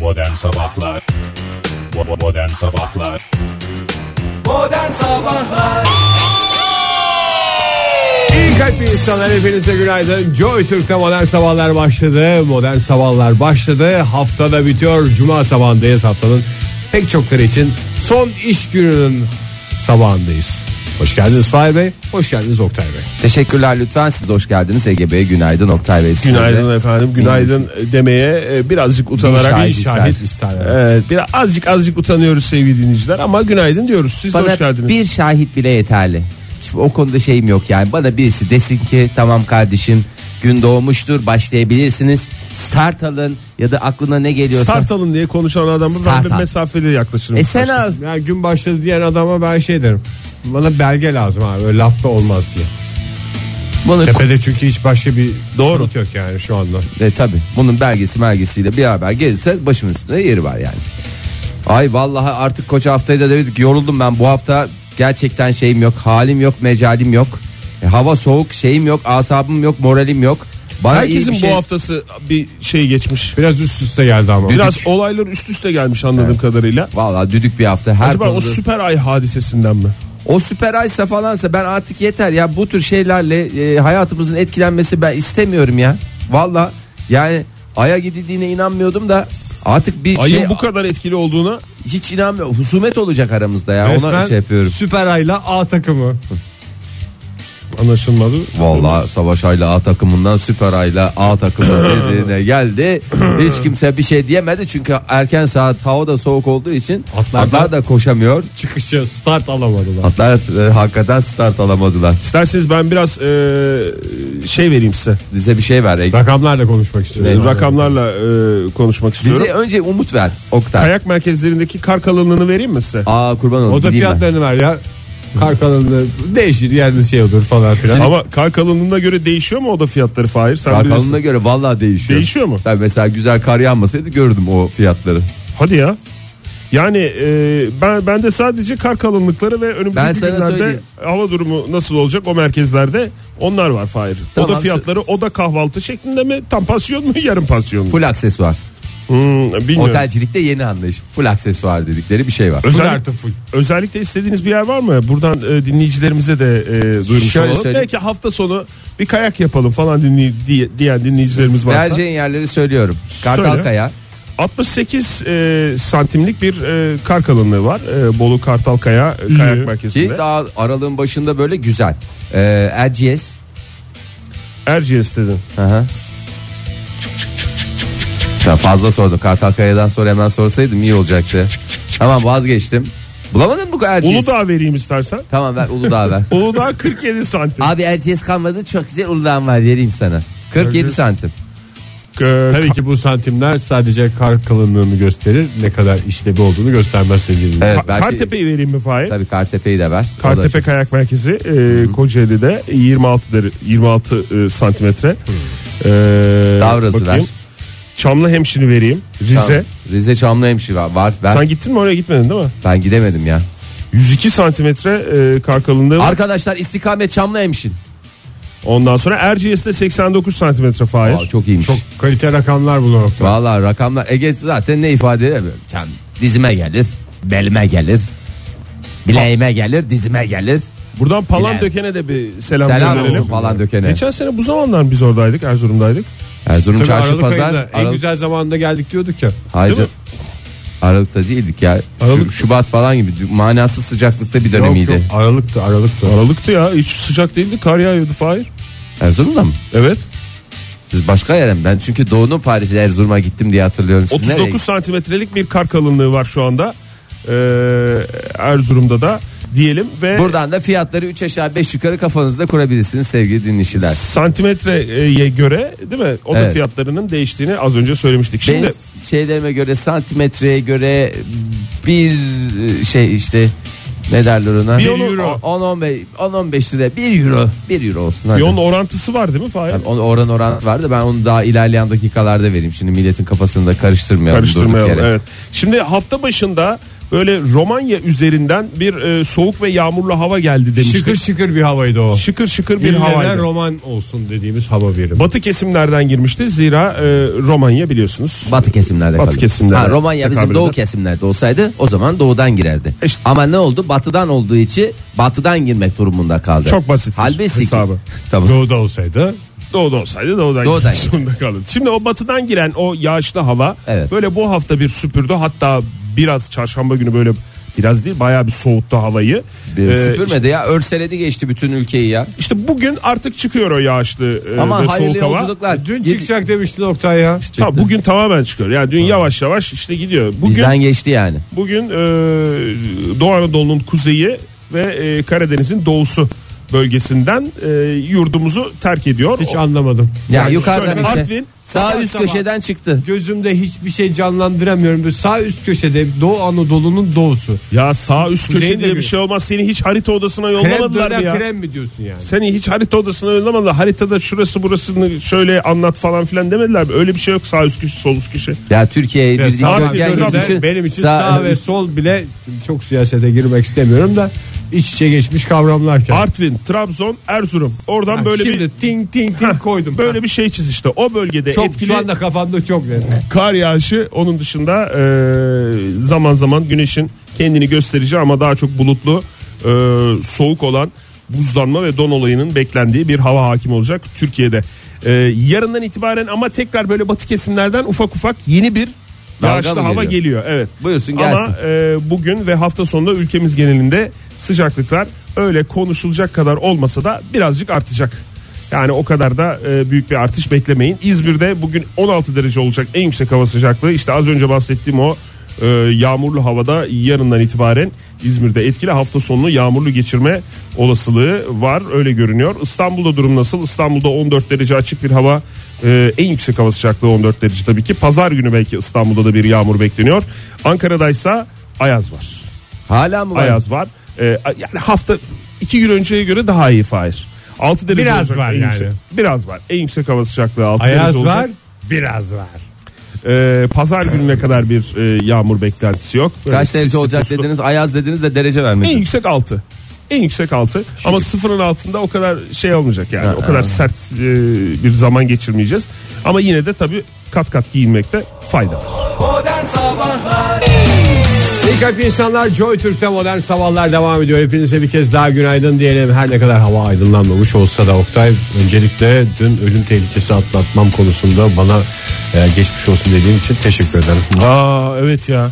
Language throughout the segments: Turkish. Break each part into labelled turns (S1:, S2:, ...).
S1: Modern Sabahlar Bo- Modern Sabahlar
S2: Modern Sabahlar
S3: İyi kalpli insanlar hepinize günaydın. Joy Türk'te modern sabahlar başladı. Modern sabahlar başladı. Haftada bitiyor. Cuma sabahındayız haftanın pek çokları için son iş gününün sabahındayız. Hoş geldiniz Fahir Bey. Hoş geldiniz Oktay Bey.
S2: Teşekkürler lütfen siz de hoş geldiniz Ege Bey günaydın Oktay Bey size
S4: Günaydın
S2: de.
S4: efendim. Günaydın demeye e, birazcık utanarak
S2: şahit
S4: bir şahit.
S3: Şahit ister.
S4: Evet, biraz azıcık azıcık utanıyoruz sevgili dinleyiciler ama günaydın diyoruz. Siz de
S2: Bana
S4: hoş geldiniz.
S2: bir şahit bile yeterli Hiç o konuda şeyim yok yani bana birisi desin ki tamam kardeşim gün doğmuştur başlayabilirsiniz start alın ya da aklına ne geliyorsa
S4: Start alın diye konuşan adamı
S2: Start
S4: ben bir
S2: al.
S4: mesafeli yaklaşırım.
S2: e sen al
S3: Ya gün başladı diyen adama ben şey derim. Bana belge lazım abi. Öyle lafta olmaz diye.
S2: E bunu
S3: Tepede çünkü hiç başka bir
S4: Doğru.
S3: kanıt yok yani şu anda.
S2: E tabi bunun belgesi belgesiyle bir haber gelirse başım üstünde yeri var yani. Ay vallahi artık koca haftayı da dedik yoruldum ben bu hafta gerçekten şeyim yok halim yok mecalim yok. E, hava soğuk şeyim yok asabım yok moralim yok. Bana iyi
S4: Herkesin
S2: bir şey,
S4: bu haftası bir şey geçmiş.
S3: Biraz üst üste geldi ama.
S4: Biraz olaylar üst üste gelmiş anladığım kadarıyla.
S2: Vallahi düdük bir hafta her
S4: Acaba o
S2: konuda-
S4: süper ay hadisesinden mi?
S2: O süper aysa falansa ben artık yeter ya bu tür şeylerle e, hayatımızın etkilenmesi ben istemiyorum ya. Valla yani aya gidildiğine inanmıyordum da artık bir
S4: Ayın
S2: şey
S4: bu kadar etkili olduğuna
S2: hiç inanmıyorum. Husumet olacak aramızda ya ona
S3: Resmen
S2: şey yapıyorum.
S3: Süper Ay'la A takımı.
S4: anlaşılmadı.
S2: Vallahi Savaş Ayla A takımından Süper Ayla A takımı dediğine geldi. Hiç kimse bir şey diyemedi çünkü erken saat hava da soğuk olduğu için
S3: Atlar
S2: atlar,
S3: da-
S2: da koşamıyor.
S3: Çıkışa start alamadılar.
S2: Atlar e, hakikaten start alamadılar.
S4: İsterseniz ben biraz e, şey vereyim size.
S2: Bize bir şey ver. Ege.
S3: Rakamlarla konuşmak istiyorum.
S4: Rakamlarla e, konuşmak istiyorum.
S2: Bize önce umut ver Oktay.
S4: Kayak merkezlerindeki kar kalınlığını vereyim mi size?
S2: Aa kurban olayım.
S3: O da
S2: gideyim ben.
S3: fiyatlarını ver ya. Kar kalınlığı değişir yerde şey olur falan filan. Ama
S4: Ama kar kalınlığına göre değişiyor mu oda fiyatları Fahir? Sen
S2: Kar
S4: bilirsin.
S2: kanununa göre vallahi değişiyor.
S4: Değişiyor mu?
S2: Ben mesela güzel kar yağmasaydı gördüm o fiyatları.
S4: Hadi ya. Yani e, ben ben de sadece kar kalınlıkları ve önümüzdeki
S2: Ben sana
S4: günlerde
S2: söyleyeyim.
S4: hava durumu nasıl olacak o merkezlerde onlar var Fahir.
S2: Tamam,
S4: oda fiyatları oda kahvaltı şeklinde mi? Tam pansiyon mu yarım pansiyon mu?
S2: Full aksesuar.
S4: Hmm, bilmiyorum.
S2: Otelcilikte yeni anlayış. Full aksesuar dedikleri bir şey var.
S4: Özel-
S3: full artı full.
S4: Özellikle istediğiniz bir yer var mı? Buradan e, dinleyicilerimize de e, duyurmuş
S2: Şöyle
S4: olalım.
S2: söyleyeyim.
S4: Belki hafta sonu bir kayak yapalım falan dinley- diye- diyen dinleyicilerimiz varsa.
S2: Vereceğin yerleri söylüyorum. Kartalkaya.
S4: 68 e, santimlik bir e, kar kalınlığı var. E, Bolu Kartalkaya e, kayak
S2: Ki
S4: merkezinde.
S2: daha aralığın başında böyle güzel. Ee, Erciyes.
S4: Erciyes dedin.
S2: Aha. Ya fazla sordum. Kartalkaya'dan sonra hemen sorsaydım iyi olacaktı. Tamam vazgeçtim. Bulamadın mı bu Erciyes?
S4: Uludağ vereyim istersen.
S2: Tamam ver Uludağ ver.
S4: Uludağ 47 santim.
S2: Abi Erciyes kalmadı çok güzel Uludağ'ım var vereyim sana. 47 santim.
S4: Ee,
S3: Tabii ki bu santimler sadece kar kalınlığını gösterir. Ne kadar işlevi olduğunu göstermez sevgili dinleyiciler.
S2: Evet
S4: Ka-
S2: belki.
S4: Kartepe'yi vereyim mi Fahir?
S2: Tabii Kartepe'yi de ver. O da
S4: Kartepe Kayak Merkezi e, Kocaeli'de 26 deri, 26 e, santimetre. E,
S2: Davrası ver.
S4: Çamlı hemşini vereyim. Rize.
S2: çok- Tamam. Rize Çamlıhemşi var. var ver.
S4: Sen gittin mi oraya gitmedin değil mi?
S2: Ben gidemedim ya.
S4: 102 santimetre e, kar kalınlığı var.
S2: Arkadaşlar istikamet Çamlıhemşin.
S4: Ondan sonra Erciyes'te 89 santimetre Fahir.
S2: Aa, çok iyiymiş.
S3: Çok kalite rakamlar bu nokta.
S2: Vallahi rakamlar Ege zaten ne ifade edemiyor. Tam dizime gelir, belime gelir, bileğime gelir, dizime gelir.
S4: Buradan Palan
S2: Bilal.
S4: dökene de bir selam,
S2: Selam
S4: gönderelim.
S2: olsun falan dökene.
S4: Geçen sene bu zamanlar biz oradaydık, Erzurum'daydık.
S2: Erzurum
S3: Tabii
S2: çarşı
S3: Aralık
S2: pazar.
S3: ayında en
S2: Aralık-
S3: güzel zamanında geldik diyorduk ya.
S2: Hayır.
S4: Değil mi?
S2: Aralık'ta değildik ya. Şu-
S3: Aralık-
S2: Şubat falan gibi manasız sıcaklıkta bir
S3: Yok
S2: dönemiydi.
S3: yok Aralık'tı Aralık'tı.
S4: Aralıktı ya, hiç sıcak değildi, kar yağıyordu Fahir.
S2: Erzurum'da mı?
S4: Evet.
S2: Siz başka yere mi? Ben çünkü doğunun Paris'e Erzurum'a gittim diye hatırlıyorum. Siz nereye
S4: 39 santimetrelik bir kar kalınlığı var şu anda. Ee, Erzurum'da da diyelim ve
S2: Buradan da fiyatları 3 aşağı 5 yukarı kafanızda kurabilirsiniz sevgili dinleyiciler.
S4: santimetreye göre değil mi? Oda
S2: Evet.
S4: fiyatlarının değiştiğini az önce söylemiştik. Şimdi
S2: Benim şeylerime göre santimetreye göre bir şey işte ne derler ona?
S4: Bir euro.
S2: 10-15 10-15 lira 1 euro 1 euro olsun hadi.
S4: bir onun orantısı var değil mi Fahir?
S2: Yani onu oran oran vardı ben onu daha ilerleyen dakikalarda vereyim. Şimdi milletin kafasını da karıştırmayalım. durduk
S4: Karıştırmayalım.
S2: yere.
S4: Evet. Şimdi hafta başında Böyle Romanya üzerinden bir e, soğuk ve yağmurlu hava geldi demiştik.
S3: Şıkır şıkır bir havaydı o.
S4: şıkır, şıkır bir
S3: Bir
S4: havaydı.
S3: roman olsun dediğimiz hava birimi.
S4: Batı kesimlerden girmişti. Zira e, Romanya biliyorsunuz.
S2: Batı kesimlerde
S4: Batı
S2: kalıyor.
S4: kesimlerde.
S2: Ha, Romanya bizim
S4: Tekabül
S2: doğu
S4: eder.
S2: kesimlerde olsaydı o zaman doğudan girerdi.
S4: İşte.
S2: Ama ne oldu? Batıdan olduğu için batıdan girmek durumunda kaldı.
S4: Çok basit bir
S2: Halbuki
S4: hesabı.
S2: Tamam.
S3: Doğuda olsaydı
S4: Doğuda olsaydı doğudan,
S2: Doğudan
S4: girmek zorunda kaldı. Şimdi o batıdan giren o yağışlı hava
S2: Evet.
S4: böyle bu hafta bir süpürdü. Hatta biraz çarşamba günü böyle biraz değil bayağı bir soğuttu havayı.
S2: Bir
S4: Ee,
S2: süpürmedi ya. Örseledi geçti bütün ülkeyi ya.
S4: İşte bugün artık çıkıyor o yağışlı e,
S2: Ama
S4: ve
S2: hayırlı
S4: soğuk hava.
S2: yolculuklar.
S3: dün
S2: Yedi-
S3: çıkacak demiştin Oktay ya.
S4: Tamam, bugün tamamen çıkıyor. Yani dün yavaş yavaş işte gidiyor. Bugün
S2: Bizden geçti yani.
S4: bugün e, Doğu Anadolu'nun kuzeyi ve e, Karadeniz'in doğusu bölgesinden e, yurdumuzu terk ediyor.
S3: Hiç
S4: O-
S3: anlamadım.
S2: Ya
S3: Yani
S2: yukarıdan
S4: şöyle,
S2: işte
S4: Artvin,
S2: sağ
S3: sabah
S2: üst
S3: sabah.
S2: köşeden çıktı.
S3: Gözümde hiçbir şey canlandıramıyorum. Böyle sağ üst köşede Doğu Anadolu'nun doğusu.
S4: Ya sağ üst
S3: Kuzeyin
S4: köşe
S3: de
S4: diye
S3: bir-
S4: bir şey olmaz. Seni hiç harita odasına
S3: Krem
S4: yollamadılar mı
S3: döner
S4: ya?
S3: krem mi diyorsun yani?
S4: Seni hiç harita odasına yollamadılar. Haritada şurası burasını şöyle anlat falan filan demediler mi? Öyle bir şey yok sağ üst köşe sol üst köşe.
S2: Ya Türkiye'yi
S3: Ya
S2: bir
S3: sağ
S4: dikdörtgen
S2: dikdörtgen
S4: gibi
S3: dikdörtgen
S2: gibi düşün.
S3: benim için sağ, ve sol bile şimdi çok siyasete girmek istemiyorum da iç içe geçmiş kavramlar. kendi.
S4: Artvin, Trabzon, Erzurum. Oradan
S3: Ha,
S4: böyle
S3: şimdi
S4: bir
S3: ting ting ting koydum. Ha,
S4: böyle bir şey çiz işte. O bölgede
S3: çok
S4: etkili
S3: şey şu anda kafamda çok net.
S4: kar yağışı onun dışında e, zaman zaman güneşin kendini gösterici ama daha çok bulutlu e, soğuk olan buzlanma ve don olayının beklendiği bir hava hakim olacak Türkiye'de. E, yarından itibaren ama tekrar böyle batı kesimlerden ufak ufak yeni bir
S2: Dalga
S4: yağışlı
S2: mı
S4: hava
S2: geliyor?
S4: geliyor. Evet.
S2: Buyursun gelsin.
S4: Ama e, bugün ve hafta sonunda ülkemiz genelinde sıcaklıklar öyle konuşulacak kadar olmasa da birazcık artacak. Yani o kadar da e, büyük bir artış beklemeyin. İzmir'de bugün 16 derece olacak en yüksek hava sıcaklığı. İşte az önce bahsettiğim o e, yağmurlu havada yarından itibaren İzmir'de etkili hafta sonunu yağmurlu geçirme olasılığı var öyle görünüyor. İstanbul'da durum nasıl? İstanbul'da 14 derece açık bir hava ee, en yüksek hava sıcaklığı 14 derece tabii ki. Pazar günü belki İstanbul'da da bir yağmur bekleniyor. Ankara'daysa ayaz var.
S2: Hala mı var?
S4: Ayaz var. Ee, yani hafta iki gün önceye göre daha iyi Fahir. 6 derece
S3: Biraz
S4: olacak
S3: var
S4: en
S3: yani.
S4: yüksek- biraz var. En yüksek hava sıcaklığı 6 derece
S3: Ayaz
S4: olacak.
S3: var biraz var.
S4: Ee, pazar gününe kadar bir e, yağmur beklentisi yok. Böyle
S2: Kaç derece
S4: sisli
S2: olacak
S4: puslu.
S2: dediniz? Ayaz dediniz de derece
S4: En
S2: vermediniz.
S4: yüksek 6. En yüksek 6. Ama sıfırın altında o kadar şey olmayacak yani.
S2: Ha,
S4: o kadar
S2: ha.
S4: sert e, bir zaman geçirmeyeceğiz. Ama yine de tabii kat kat giyinmekte fayda var.
S3: İyi kalp insanlar Joy Türk'te modern sabahlar devam ediyor. Hepinize bir kez daha günaydın diyelim. Her ne kadar hava aydınlanmamış olsa da Oktay öncelikle dün ölüm tehlikesi atlatmam konusunda bana e, geçmiş olsun dediğin için teşekkür ederim.
S4: Aa evet ya.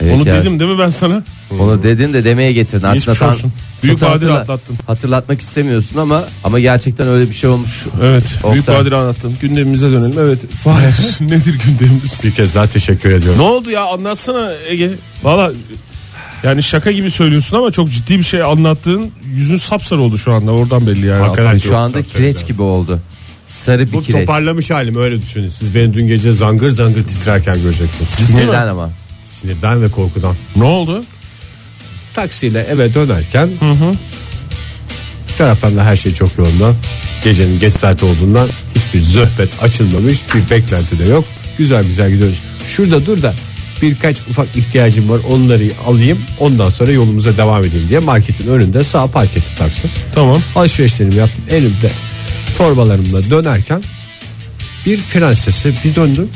S2: Evet
S4: Onu
S2: ya.
S4: dedim değil mi ben sana?
S2: Onu dedin de demeye getirdin. Aslında
S4: Geçmiş
S2: tam-
S4: olsun. Büyük
S2: tam
S4: badire
S2: hatırla-
S4: atlattın.
S2: Hatırlatmak istemiyorsun ama ama gerçekten öyle bir şey olmuş.
S4: Evet.
S2: Oktay.
S4: Büyük Bahadır anlattın. Gündemimize dönelim. Evet. Fahir nedir gündemimiz?
S3: Bir kez daha teşekkür ediyorum.
S4: Ne oldu ya anlatsana Ege. Valla yani şaka gibi söylüyorsun ama çok ciddi bir şey anlattığın yüzün sapsarı oldu şu anda oradan belli yani.
S3: Hakikaten
S2: Şu anda kireç gibi oldu. Sarı bir
S3: Bu
S2: kireç.
S3: toparlamış halim öyle düşünün. Siz beni dün gece zangır zangır titrerken görecektiniz.
S2: Sinirden ama.
S3: Sinirden ve korkudan.
S4: Ne oldu?
S3: Taksiyle eve dönerken bir taraftan da her şey çok yoğundu. Gecenin geç saati olduğundan hiçbir zöhbet açılmamış bir beklenti de yok. Güzel güzel gidiyoruz. Şurada dur da birkaç ufak ihtiyacım var onları alayım ondan sonra yolumuza devam edeyim diye marketin önünde sağ park etti taksi.
S4: Tamam.
S3: Alışverişlerimi yaptım elimde torbalarımla dönerken bir fren sesi bir döndüm.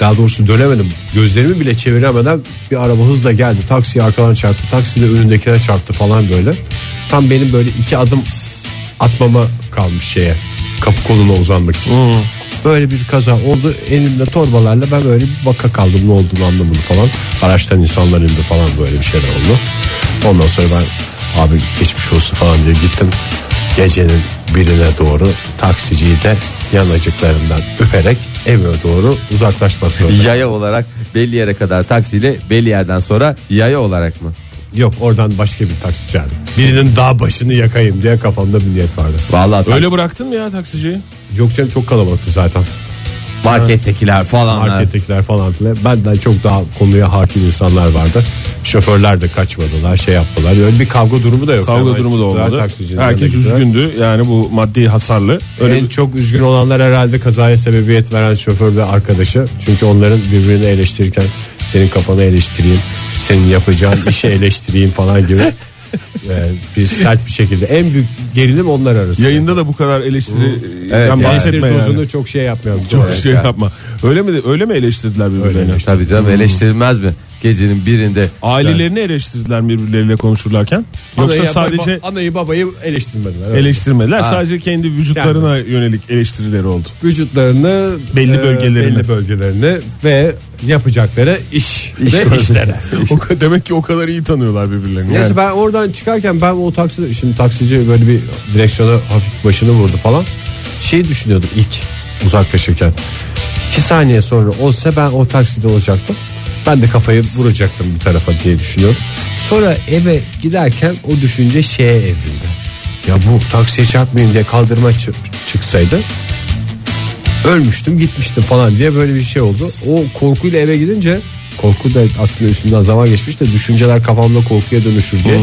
S3: Daha doğrusu dönemedim. Gözlerimi bile çeviremeden bir araba hızla geldi. Taksiye arkadan çarptı. Taksi de önündekine çarptı falan böyle. Tam benim böyle iki adım atmama kalmış şeye. Kapı koluna uzanmak için. Böyle bir kaza oldu. Elimde torbalarla ben böyle bir baka kaldım. Ne olduğunu anlamadım falan. Araçtan insanlar indi falan böyle bir şeyler oldu. Ondan sonra ben abi geçmiş olsun falan diye gittim. Gecenin birine doğru taksiciyi de yanacıklarından öperek eve doğru uzaklaşmak zorunda.
S2: Yaya olarak belli yere kadar taksiyle belli yerden sonra yaya olarak mı?
S3: Yok oradan başka bir taksi çağırdım. Birinin dağ başını yakayım diye kafamda bir niyet vardı.
S2: Vallahi tak-
S4: Öyle bıraktın mı ya taksiciyi?
S3: Yok canım çok kalabalıktı zaten.
S2: markettekiler falanlar.
S3: Markettekiler falan filan. Benden çok daha konuya hakim insanlar vardı. Şoförler de kaçmadılar şey yaptılar. Öyle bir kavga durumu da yok.
S4: Kavga
S3: Yani
S4: durumu da
S3: çıktılar,
S4: olmadı.
S3: taksicinin
S4: Herkes
S3: önüne gittiler.
S4: üzgündü. Yani bu maddi hasarlı. Öyle
S3: en çok üzgün olanlar herhalde kazaya sebebiyet veren şoför ve arkadaşı. Çünkü onların birbirini eleştirirken senin kafanı eleştireyim. senin yapacağın işi eleştireyim falan gibi. Ee, bir sert bir şekilde. En büyük gerilim onlar arasında.
S4: Yayında da bu kadar eleştiri
S2: Evet,
S4: ben
S2: yani.
S4: bahsetme
S3: Eleştiri dozunu
S4: yani.
S3: çok şey yapmayalım.
S4: Çok
S3: Doğru.
S4: şey yapma. Öyle mi öyle mi eleştirdiler birbirlerini?
S3: Öyle eleştirdiler.
S2: Tabii
S4: Hmm.
S2: canım eleştirilmez mi? Gecenin birinde.
S4: Ailelerini eleştirdiler birbirleriyle konuşurlarken. Yoksa
S3: Anayı,
S4: sadece
S3: baba- anayı babayı eleştirmediler. Evet.
S4: eleştirmediler. Sadece kendi vücutlarına yönelik eleştirileri oldu.
S3: vücutlarını
S4: Belli
S3: e,
S4: bölgelerini.
S3: belli bölgelerini ve yapacakları iş,
S2: İş
S3: ve
S2: bölgesi.
S3: işlere.
S4: O ka- Demek ki o kadar iyi tanıyorlar birbirlerini.
S3: Neyse
S4: Yani.
S3: ben oradan çıkarken ben o taksi şimdi taksici böyle bir direksiyona hafif başını vurdu falan. Şey düşünüyordum ilk uzaklaşırken. İki saniye sonra olsa ben o takside olacaktım. Ben de kafayı vuracaktım bir tarafa diye düşünüyorum. Sonra eve giderken o düşünce şeye evrildi. Ya bu taksiye çarpmayayım diye kaldırma çı- çıksaydı ölmüştüm gitmiştim falan diye böyle bir şey oldu. O korkuyla eve gidince korku da aslında üstünden zaman geçmiş de düşünceler kafamda korkuya dönüşür
S4: Hmm.
S3: diye.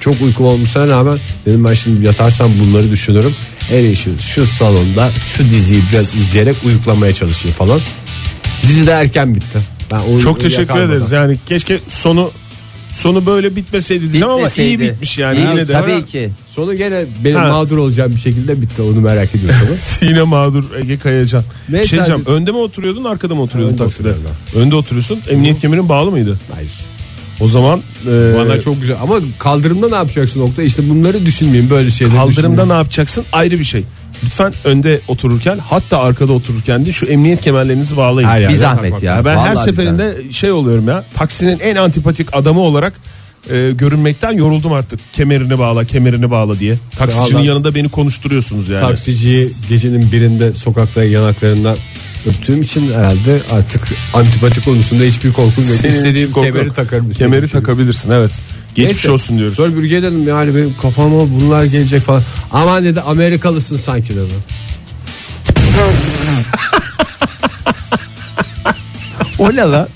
S3: Çok uykum olmasına rağmen dedim ben şimdi yatarsam bunları düşünürüm. En iyisi şu salonda şu diziyi biraz izleyerek uyuklamaya çalışayım falan. Dizi de erken bitti. Ben o-
S4: Çok
S3: o
S4: teşekkür
S3: yakalmadan.
S4: ederiz. Yani keşke sonu sonu böyle bitmeseydi diyeceğim ama iyi
S2: Bitmeseydi.
S4: bitmiş yani.
S2: İyi,
S4: yine de
S2: tabii ki.
S3: Sonu gene benim
S4: Ha.
S3: mağdur olacağım bir şekilde bitti onu merak ediyorsunuz.
S4: yine mağdur Ege Kayacan.
S3: Ne
S4: şey diyeceğim,
S3: sen-
S4: önde mi oturuyordun arkada mı oturuyordun
S3: Önde
S4: takside?
S3: oturuyorum
S4: Önde oturuyorsun. Emniyet kemerin bağlı mıydı?
S3: Hayır.
S4: O zaman e,
S3: Bana çok güzel Ee, ama kaldırımda ne yapacaksın nokta işte bunları düşünmeyin böyle şeyleri
S4: Kaldırımda
S3: düşünmeyin.
S4: ne yapacaksın ayrı bir şey. Lütfen önde otururken hatta arkada otururken de şu emniyet kemerlerinizi bağlayın.
S3: Her yerde
S2: bir zahmet
S3: takmak
S2: ya.
S4: Ya ben her
S2: Vallahi bir
S4: seferinde şey oluyorum ya. Taksinin en antipatik adamı olarak e, görünmekten yoruldum artık. Kemerini bağla, kemerini bağla diye. Taksicinin
S3: Vallahi-
S4: yanında beni konuşturuyorsunuz yani.
S3: taksiciyi gecenin birinde sokakta yanaklarından öptüğüm için herhalde artık antipati konusunda hiçbir korkum yok.
S4: Senin
S3: İstediğim
S4: için korku
S3: kemeri
S4: yok.
S3: takarım. istediğim
S4: Kemeri
S3: şey.
S4: takabilirsin evet. Geçmiş
S3: Neyse,
S4: olsun diyoruz.
S3: Sonra bürgeye dedim yani benim kafama bunlar gelecek falan. Aman dedi Amerikalısın sanki dedi.
S2: O ne la?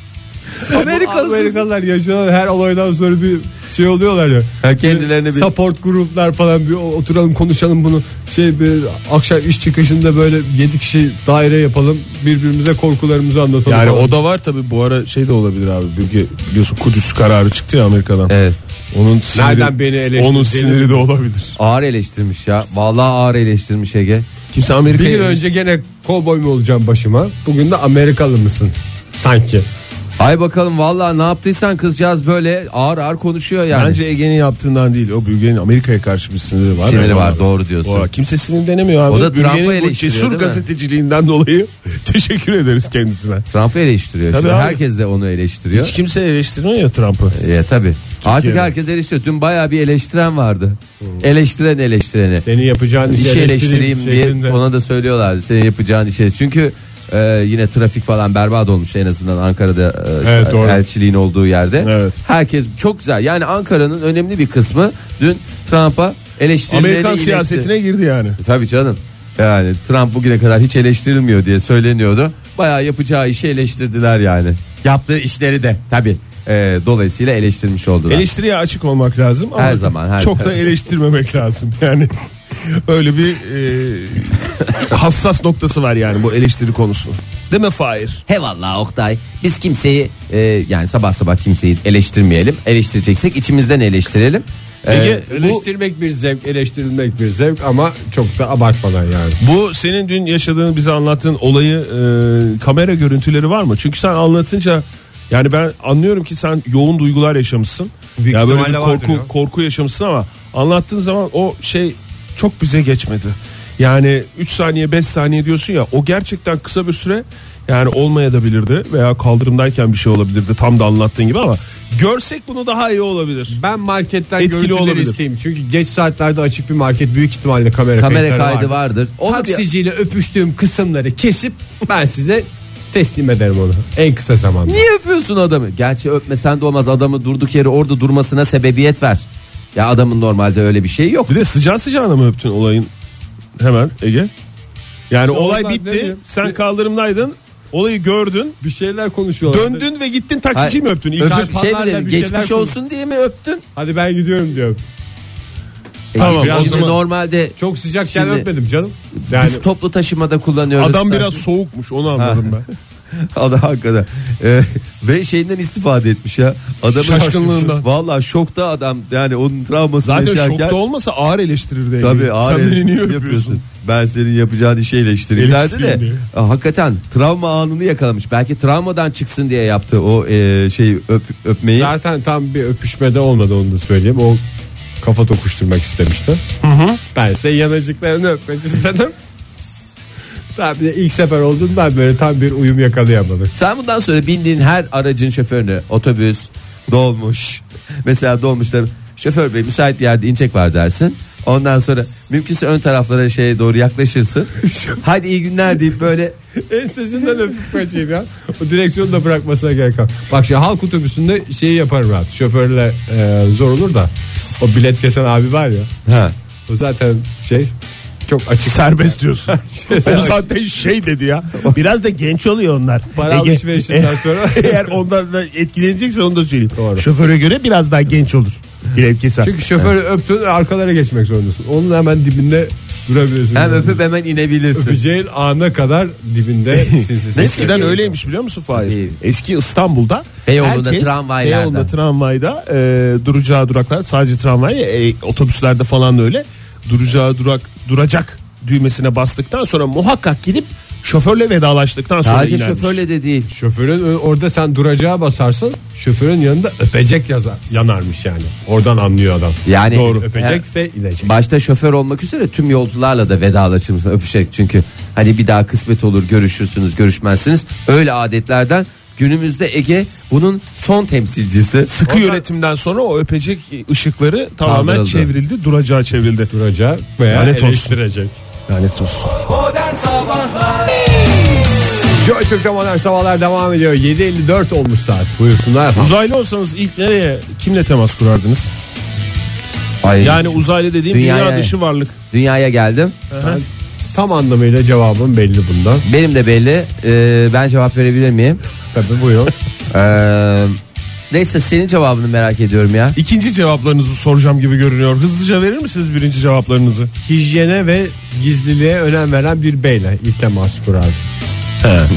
S3: Amerikalılar yaşanan her olaydan sonra bir şey oluyorlar ya.
S2: Ha, kendilerine bir-
S3: Support gruplar falan bir oturalım konuşalım bunu. Şey bir akşam iş çıkışında böyle 7 kişi daire yapalım. Birbirimize korkularımızı anlatalım.
S4: yani
S3: falan.
S4: o da var tabi bu ara şey de olabilir abi. Bilgi, biliyorsun Kudüs kararı çıktı ya Amerika'dan.
S2: Evet.
S4: Onun siniri,
S3: Nereden beni eleştirdiğini-
S4: Onun siniri de olabilir.
S2: Ağır eleştirmiş ya. Vallahi ağır eleştirmiş Ege.
S4: Kimse
S3: Bir
S4: Amerika'ya
S3: gün önce gene kovboy mu olacağım başıma? Bugün de Amerikalı mısın? Sanki.
S2: Ay bakalım vallahi ne yaptıysan kızcağız böyle ağır ağır konuşuyor yani.
S4: Bence Ege'nin yaptığından değil. O bölgenin Amerika'ya karşı bir siniri var.
S2: Siniri
S4: Yani
S2: var,
S4: ona-
S2: doğru diyorsun.
S4: O- kimse sinirlenemiyor abi.
S2: O da
S4: Bülge'nin
S2: Trump'ı
S4: bu
S2: eleştiriyor,
S4: Cesur
S2: değil mi?
S4: gazeteciliğinden dolayı teşekkür ederiz kendisine.
S2: Trump'ı eleştiriyor.
S4: Tabii
S2: Şimdi
S4: abi.
S2: herkes de onu eleştiriyor.
S4: Hiç kimse eleştirmiyor ya Trump'ı.
S2: E, tabii. Artık herkes eleştiriyor. Dün bayağı bir eleştiren vardı.
S4: Hmm.
S2: Eleştiren eleştireni.
S3: Senin yapacağın
S2: İşi
S3: işi
S2: eleştireyim diye
S3: şeklinde.
S2: ona da söylüyorlardı. Senin yapacağın işe. Çünkü e, yine trafik falan berbat olmuş en azından Ankara'da e,
S3: Evet, doğru.
S2: elçiliğin olduğu yerde.
S4: Evet.
S2: Herkes çok güzel. Yani Ankara'nın önemli bir kısmı dün Trump'a eleştirilerini
S4: Amerikan
S2: iletti.
S4: siyasetine girdi yani.
S2: E, Tabii canım. Yani Trump bugüne kadar hiç eleştirilmiyor diye söyleniyordu. Bayağı yapacağı işi eleştirdiler yani. Yaptığı işleri de tabii. E, dolayısıyla eleştirmiş oldular.
S4: Eleştiriye açık olmak lazım ama
S2: Her zaman, her
S4: çok da
S2: zaman.
S4: eleştirmemek lazım. Yani öyle bir e, hassas noktası var yani bu eleştiri konusu. Değil mi Fahir?
S2: He vallahi Oktay biz kimseyi e, yani sabah sabah kimseyi eleştirmeyelim. Eleştireceksek içimizden eleştirelim. E,
S4: Ege, bu,
S3: Eleştirmek bir zevk, eleştirilmek bir zevk ama çok da abartmadan yani.
S4: bu senin dün yaşadığın bize anlattığın olayı e, kamera görüntüleri var mı? Çünkü sen anlatınca yani ben anlıyorum ki sen yoğun duygular yaşamışsın.
S3: Büyük
S4: ya böyle bir
S3: ihtimalle
S4: korku
S3: vardır ya.
S4: korku yaşamışsın ama anlattığın zaman o şey çok bize geçmedi. Yani 3 saniye 5 saniye diyorsun ya o gerçekten kısa bir süre yani olmaya da bilirdi veya kaldırımdayken bir şey olabilirdi tam da anlattığın gibi ama görsek bunu daha iyi olabilir.
S3: Ben marketten
S4: Etkili
S3: görüntüleri
S4: olabilir.
S3: isteyeyim. Çünkü geç saatlerde açık bir market büyük ihtimalle kamera,
S2: kamera
S3: kayıtları
S2: kaydı
S3: vardır.
S2: vardır. Onu bir-
S3: Taksiciyle öpüştüğüm kısımları kesip ben size teslim ederim onu en kısa zamanda.
S2: niye öpüyorsun adamı? Gerçi öpmesen de olmaz adamı durduk yere orada durmasına sebebiyet ver. Ya adamın normalde öyle bir şey yok.
S4: Bir de sıcağı sıcağına mı öptün olayın hemen Ege? Yani olay
S3: oradan ne
S4: bitti.
S3: bileyim.
S4: Sen kaldırımdaydın. Olayı gördün.
S3: Bir şeyler konuşuyorlar.
S4: Döndün ve gittin taksiciyi mi
S2: Hayır,
S4: öptün? İlk
S2: öpüp-
S4: çarpan-
S2: şey mi
S3: çarpanlarla
S2: dedin,
S3: bir şeyler
S2: geçmiş
S3: konu-
S2: olsun diye mi öptün?
S3: Hadi ben gidiyorum diyorum.
S2: E,
S4: Tamam,
S2: şimdi
S4: o zaman-
S2: normalde
S3: Çok sıcakken
S2: Şimdi-
S3: öpmedim canım. Yani
S2: biz toplu taşımada kullanıyoruz.
S4: Adam
S2: Tabii.
S4: biraz soğukmuş onu anladım ben.
S2: Adam hakikaten. Ee, ve şeyinden istifade etmiş ya. Adamın
S5: Şaşkınlığından.
S2: Valla şokta adam yani onun travmasını
S5: Zaten
S2: yaşarken.
S5: şokta olmasa ağır eleştirirdi.
S2: Tabii ağır
S5: Sen beni
S2: eleştiri
S5: niye
S2: yapıyorsun.
S5: öpüyorsun?
S2: Ben senin yapacağın işi eleştireyim derdi
S5: Eleştireyim
S2: de.
S5: diye.
S2: e, Hakikaten travma anını yakalamış. Belki travmadan çıksın diye yaptı o e, şey öp, öpmeyi.
S3: Zaten tam bir öpüşmede olmadı onu da söyleyeyim. O kafa tokuşturmak istemişti. Ben ise yanacıklarını öpmek istedim. Tabii de ilk sefer olduğundan böyle tam bir uyum yakalayamadık.
S2: Sen bundan sonra bindiğin her aracın şoförünü otobüs, dolmuş. Mesela dolmuşlar şoför bey müsait bir yerde inecek var dersin. Ondan sonra mümkünse ön taraflara şeye doğru yaklaşırsın. Hadi iyi günler deyip böyle
S3: Ensesinden öpüp kaçayım ya. O direksiyonu da bırakmasına gerek yok. Bak şimdi halk otobüsünde şeyi yaparım rahat. Şoförle e, zor olur da. O bilet kesen abi var ya.
S2: ha,
S3: O zaten şey çok açık.
S4: Serbest diyorsun. o
S3: Serbest.
S4: zaten şey dedi ya. Biraz da genç oluyor onlar.
S3: Para
S4: Ege-
S3: alışverişinden sonra.
S4: Eğer ondan da etkilenecekse onu da söyleyeyim.
S3: Doğru.
S4: Şoföre göre biraz daha genç olur. Bilet keser.
S3: Çünkü şoförü öptün arkalara geçmek zorundasın. Onun hemen dibinde durabiliyorsun.
S2: hem öpüp hemen inebilirsin.
S3: Öpeceğin ana kadar dibinde sinsi
S4: Eskiden öyleymiş biliyor musun Fahir?
S2: İyi.
S4: Eski İstanbul'da
S2: Beyoğlu'nda tramvaylarda.
S4: Beyoğlu'nda tramvayda e, duracağı duraklar sadece tramvay e, otobüslerde falan da öyle duracağı durak duracak düğmesine bastıktan sonra muhakkak gidip şoförle vedalaştıktan sonra
S2: Sadece
S4: inermiş.
S2: şoförle de değil.
S3: Şoförün ö- orada sen duracağa basarsın. Şoförün yanında öpecek yazar, yanarmış yani. Oradan anlıyor adam.
S2: Yani
S3: Doğru.
S2: Ya-
S3: Öpecek ve inecek.
S2: Başta şoför olmak üzere tüm yolcularla da vedalaşırmış öpüşerek çünkü hani bir daha kısmet olur görüşürsünüz görüşmezsiniz öyle adetlerden günümüzde Ege bunun son temsilcisi
S4: Sıkı yönetimden sonra o öpecek ışıkları tamamen
S2: Kaldırıldı.
S4: çevrildi, duracağı çevrildi.
S3: Duracağı veya
S4: Lanet olsun.
S3: eleştirecek.
S4: Lanet olsun.
S3: Joy Türk'te modern sabahlar devam ediyor. 7.54 olmuş saat. Buyursunlar efendim.
S4: Uzaylı olsanız ilk nereye, kimle temas kurardınız?
S2: Ay,
S4: Yani uzaylı dediğim
S2: Dünyaya-
S4: dünya dışı varlık.
S2: dünyaya geldim
S3: Ben tam anlamıyla cevabım belli bundan.
S2: benim de belli Ee, ben cevap verebilir miyim
S3: Tabii buyur.
S2: Ee, neyse senin cevabını merak ediyorum ya
S4: İkinci cevaplarınızı soracağım gibi görünüyor. Hızlıca verir misiniz birinci cevaplarınızı?
S3: Hijyene ve gizliliğe önem veren bir beyle ilk temas kurardım.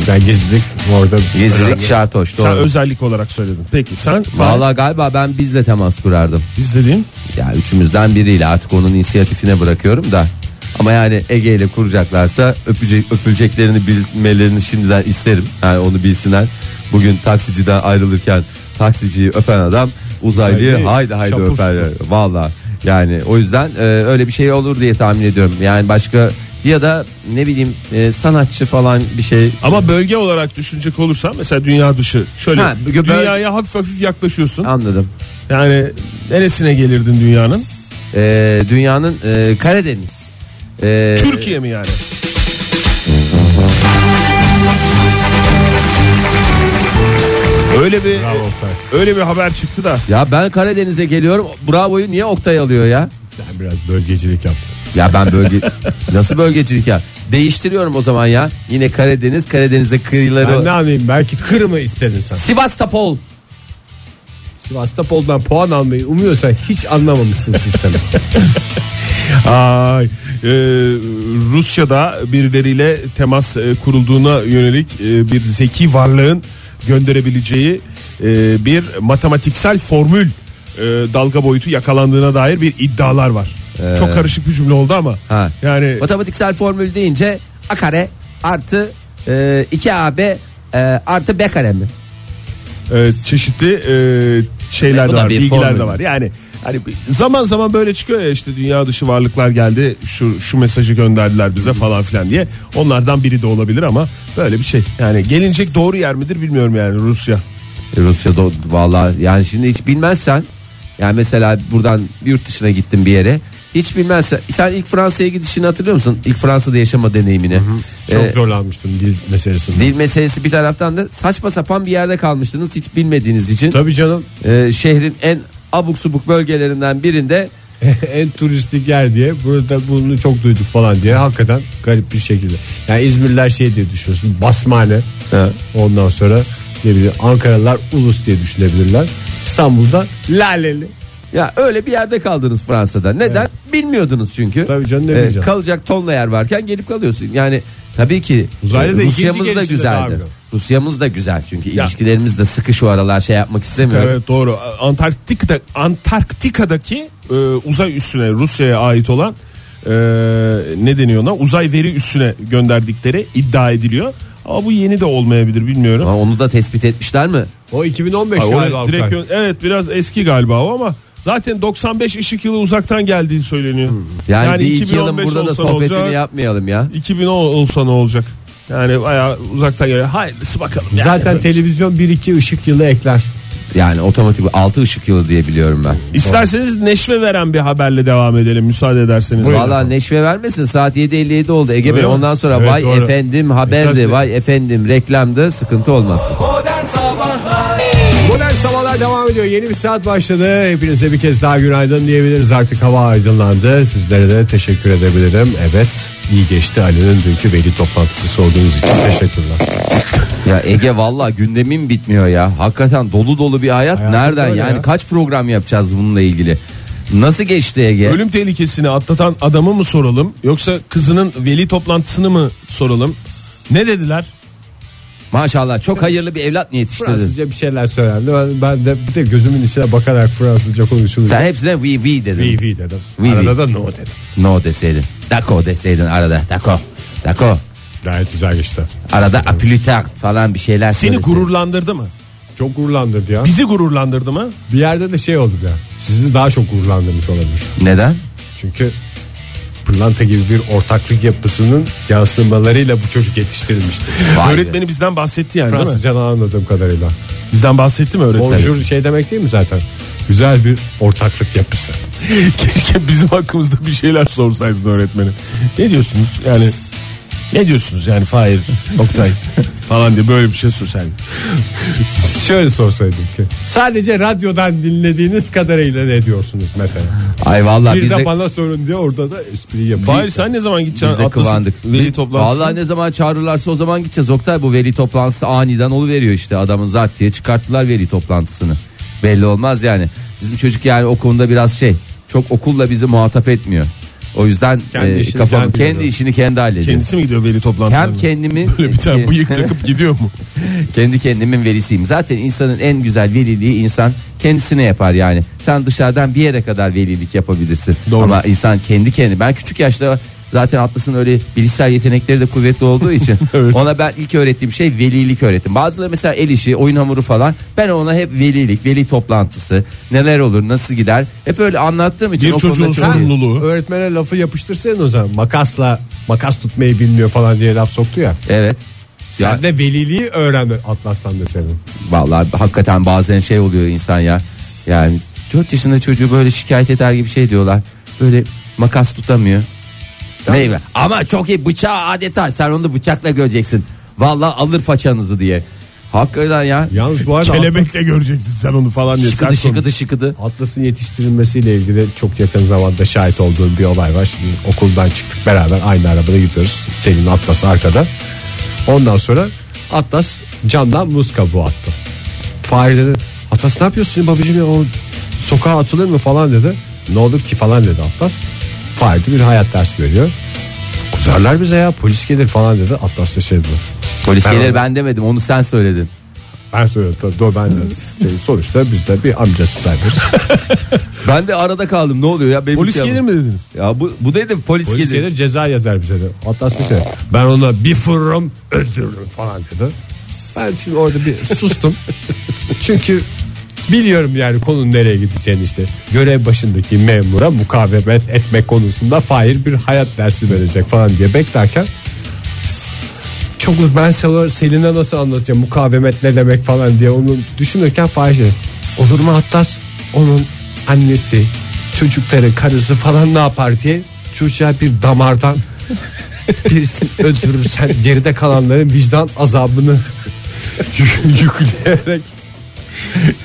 S3: Ben gizlilik orada
S2: gizlilik şart hoş
S4: Sen
S2: doğru
S4: özellik olarak söyledin. Peki sen
S2: Valla galiba ben bizle temas kurardım
S4: biz dediğin
S2: Ya üçümüzden biriyle artık onun inisiyatifine bırakıyorum da. Ama yani Ege ile kuracaklarsa öpecek, öpüleceklerini bilmelerini şimdiden isterim. Yani onu bilsinler. Bugün taksiciden ayrılırken taksiciyi öpen adam uzaylıyı
S3: Haydi,
S2: haydi haydi
S3: şapur
S2: öper.
S3: şupur.
S2: Valla yani o yüzden e, öyle bir şey olur diye tahmin ediyorum. Yani başka ya da ne bileyim e, sanatçı falan bir şey.
S4: ama bölge olarak düşünecek olursan mesela dünya dışı şöyle
S2: Ha, bö-
S4: dünyaya hafif hafif yaklaşıyorsun.
S2: Anladım.
S4: Yani neresine gelirdin dünyanın?
S2: E, dünyanın e, Karadeniz. E,
S3: Ee,
S4: Türkiye mi yani? Öyle bir öyle bir haber çıktı da
S2: Ya ben Karadeniz'e geliyorum. Bravo'yu niye Oktay alıyor ya?
S3: ben biraz bölgecilik yaptım.
S2: Ya ben bölge nasıl bölgecilik ya? Değiştiriyorum o zaman ya. Yine Karadeniz, Karadeniz'de
S3: Ben
S2: kıyıları.
S3: ne anlayayım belki Kırım'ı istedin sen.
S2: Sivastopol.
S3: Sivastopol'dan puan almayı umuyorsan hiç anlamamışsın sistemi.
S4: Ay, e, Rusya'da birileriyle temas e, kurulduğuna yönelik e, bir zeki varlığın gönderebileceği e, bir matematiksel formül e, dalga boyutu yakalandığına dair bir iddialar var. Çok karışık bir cümle oldu ama.
S2: Ee, Ha.
S4: Yani
S2: Matematiksel formül deyince a kare artı 2 AB e, artı B kare mi?
S4: e, çeşitli e, şeyler
S2: E, bu
S4: de
S2: da
S4: var,
S2: bir
S4: bilgiler
S2: formül.
S4: de var. Yani hani bir- zaman zaman böyle çıkıyor ya işte dünya dışı varlıklar geldi, şu şu mesajı gönderdiler bize falan filan diye. Onlardan biri de olabilir ama böyle bir şey. Yani gelinecek doğru yer midir bilmiyorum yani Rusya.
S2: E, Rusya'da o- vallahi yani şimdi hiç bilmezsen yani mesela buradan yurt dışına gittin bir yere hiç bilmezsen sen ilk Fransa'ya gidişini hatırlıyor musun? İlk Fransa'da yaşama deneyimini.
S3: Çok
S2: E,
S3: zorlanmıştım dil meselesinde.
S2: Dil meselesi bir taraftan da saçma sapan bir yerde kalmıştınız hiç bilmediğiniz için.
S3: Tabii canım
S2: Ee, şehrin en abuk subuk bölgelerinden birinde
S3: en turistik yer diye burada bunu çok duyduk falan diye hakikaten garip bir şekilde. Yani İzmirliler şey diye düşünüyorsun basmane ondan sonra ne bileyim Ankaralılar ulus diye düşünebilirler. İstanbul'da laleli.
S2: ya öyle bir yerde kaldınız Fransa'da. Neden? Bilmiyordunuz çünkü.
S3: Tabii canım, ne
S2: Ee,
S3: bileceğim.
S2: kalacak tonla yer varken gelip kalıyorsun. Yani Tabii ki
S3: Uzaylı da
S2: e,
S3: ikinci
S2: Rusya'mız da
S3: gelişi de
S2: güzeldir.
S3: daha
S2: Rusya'mız da güzel çünkü ilişkilerimiz de sıkı şu aralar şey yapmak istemiyorum.
S4: Evet doğru. Antarktika'da Antarktika'daki e, uzay üssüne Rusya'ya ait olan e, ne deniyor ona? Uzay veri üssüne gönderdikleri iddia ediliyor. Ama bu yeni de olmayabilir bilmiyorum.
S2: Ama onu da tespit etmişler mi?
S3: O 2015
S4: Ay, oraya
S3: galiba.
S4: direkt
S3: Oktay.
S4: gö- evet biraz eski galiba o ama zaten 95 ışık yılı uzaktan geldiği söyleniyor.
S2: Yani, bir iki yılın
S4: 2015
S2: burada da
S4: olsa
S2: sohbetini
S4: olacak,
S2: yapmayalım ya.
S4: 2010 olsa ne olacak? Yani bayağı uzaktan geliyor. Hayırlısı bakalım. yani.
S3: Zaten televizyon 1-2 ışık yılı ekler.
S2: Yani otomatik 6 ışık yılı diye biliyorum ben.
S4: İsterseniz neşve veren bir haberle devam edelim müsaade ederseniz.
S2: Valla neşve vermesin saat 7.57 oldu Ege Bey
S4: Öyle mi?
S2: ondan sonra
S3: Evet,
S2: vay
S3: doğru.
S2: efendim haberdi
S3: Esas-
S2: vay efendim reklamdı sıkıntı olmasın.
S3: Modern Sabahlar devam ediyor. Yeni bir saat başladı. Hepinize bir kez daha günaydın diyebiliriz. Artık hava aydınlandı. Sizlere de teşekkür edebilirim. Evet iyi geçti Ali'nin dünkü veli toplantısı sorduğunuz için teşekkürler.
S2: Ya Ege valla gündemin bitmiyor ya. Hakikaten dolu dolu bir hayat nereden
S3: öyle
S2: yani
S3: ya.
S2: kaç program yapacağız bununla ilgili. Nasıl geçti Ege?
S4: Ölüm tehlikesini atlatan adamı mı soralım yoksa kızının veli toplantısını mı soralım? Ne dediler?
S2: Maşallah çok hayırlı bir evlat mı yetiştirdin?
S3: Fransızca bir şeyler söylendi. Ben, ben de bir de gözümün içine bakarak Fransızca konuşuldu.
S2: Sen hepsine we we dedin.
S3: Vi vi dedim.
S2: Vi vi.
S3: Arada da no dedim.
S2: No deseydin. Dako deseydin arada. Dako. Dako.
S3: Gayet güzel geçti.
S2: Arada apülütart falan bir şeyler
S4: Seni
S2: söyleseydin.
S4: gururlandırdı mı?
S3: Çok gururlandırdı ya.
S4: Bizi gururlandırdı mı?
S3: Bir yerde de şey oldu ya. Sizi daha çok gururlandırmış olabilir.
S2: Neden?
S3: Çünkü pırlanta gibi bir ortaklık yapısının yansımalarıyla bu çocuk yetiştirilmişti.
S2: Vay be.
S4: Öğretmeni bizden bahsetti yani değil mi?
S3: Fransızca anladığım kadarıyla.
S4: Bizden bahsetti mi öğretmen?
S3: Bonjour şey demek değil mi zaten? Güzel bir ortaklık yapısı.
S4: Keşke bizim hakkımızda bir şeyler sorsaydın öğretmenim. Ne diyorsunuz yani? Ne diyorsunuz yani Fahir, Oktay falan diye böyle bir şey sorsaydın.
S3: Şöyle sorsaydım ki. Sadece radyodan dinlediğiniz kadarıyla ne diyorsunuz mesela?
S2: Ay valla
S3: Bir
S2: biz de,
S3: de bana sorun diye orada da espri yapıyor.
S4: Fahir sen ne zaman
S2: biz de
S4: gideceksin? Atlas'ın
S2: kıvandık.
S4: Veli toplantısı.
S2: Valla ne zaman çağırırlarsa o zaman gideceğiz. Oktay bu veli toplantısı aniden oluveriyor işte. Adamın zart diye çıkarttılar veli toplantısını. Belli olmaz yani. Bizim çocuk yani o konuda biraz şey. Çok okulla bizi muhatap etmiyor. O yüzden
S3: Kendi
S2: e,
S3: işini
S2: kafam-
S3: kendi
S2: kendi
S3: yapıyor.
S2: işini kendi hallediyor.
S4: Kendisi mi gidiyor veli toplantısına?
S2: Hem kendimi e,
S4: Böyle bir tane bıyık takıp gidiyor mu?
S2: Kendi kendimin velisiyim. Zaten insanın en güzel veliliği insan kendisine yapar yani. Sen dışarıdan bir yere kadar velilik yapabilirsin. Ama insan kendi kendi. Ben küçük yaşta zaten Atlas'ın öyle bilişsel yetenekleri de kuvvetli olduğu için ona ben ilk öğrettiğim şey velilik öğrettim. Bazıları mesela el işi, oyun hamuru falan. Ben ona hep velilik, veli toplantısı, neler olur, nasıl gider. Hep öyle anlattığım için
S4: Bir
S2: o konuda
S4: çocuğun
S2: çok-
S4: sorumluluğu.
S3: Öğretmene lafı yapıştırsaydın o zaman. Makasla makas tutmayı bilmiyor falan diye laf soktu ya.
S2: Evet. Ya-
S3: Sen de veliliği öğrendin Atlas'tan da senin.
S2: Vallahi hakikaten bazen şey oluyor insan ya. Yani 4 yaşında çocuğu böyle şikayet eder gibi şey diyorlar. Böyle makas tutamıyor. Meyve. Ama çok iyi bıçağı adeta sen onu da bıçakla göreceksin. Vallahi alır façanızı diye. Hakikaten ya.
S3: Yalnız bu arada
S4: Kelebekle göreceksin sen onu falan diye.
S2: şıkıdı
S4: Sert konuş.
S2: şıkıdı şıkıdı.
S3: Atlas'ın yetiştirilmesiyle ilgili çok yakın zamanda şahit olduğum bir olay var. Şimdi okuldan çıktık beraber aynı arabada gidiyoruz. Selin Atlas arkada. Ondan sonra Atlas camdan muz kabuğu attı. Fahri dedi Atlas ne yapıyorsun babacığım ya o sokağa atılır mı falan dedi. Ne olur ki falan dedi Atlas. Fahri de bir hayat dersi veriyor. Kuzarlar bize ya polis gelir falan dedi. Atlas da şey dedi.
S2: Polis
S3: Ben
S2: gelir
S3: onu-
S2: ben demedim onu sen söyledin.
S3: Ben söyledim tabii doğru ben dedim. Senin Sonuçta biz de bir amcası sayılırız.
S2: Ben de arada kaldım ne oluyor ya. Benim
S4: Polis
S2: ülkem-
S4: gelir mi dediniz?
S2: Ya bu, bu dedim polis,
S3: Polis
S2: gelir.
S3: gelir ceza yazar bize de. Atlas bir şey. Ben ona bir fırırım öldürürüm falan dedi. Ben şimdi orada bir sustum. Çünkü biliyorum yani konunun nereye gideceğini işte. Görev başındaki memura mukavemet etme konusunda Fahir bir hayat dersi verecek falan diye beklerken çok ben sana Selin'e nasıl anlatacağım mukavemet ne demek falan diye onu düşünürken Fahir şey, olur mu Atlas onun annesi çocukları karısı falan ne yapar diye çocuğa bir damardan birisini öldürürsen geride kalanların vicdan azabını yük- yükleyerek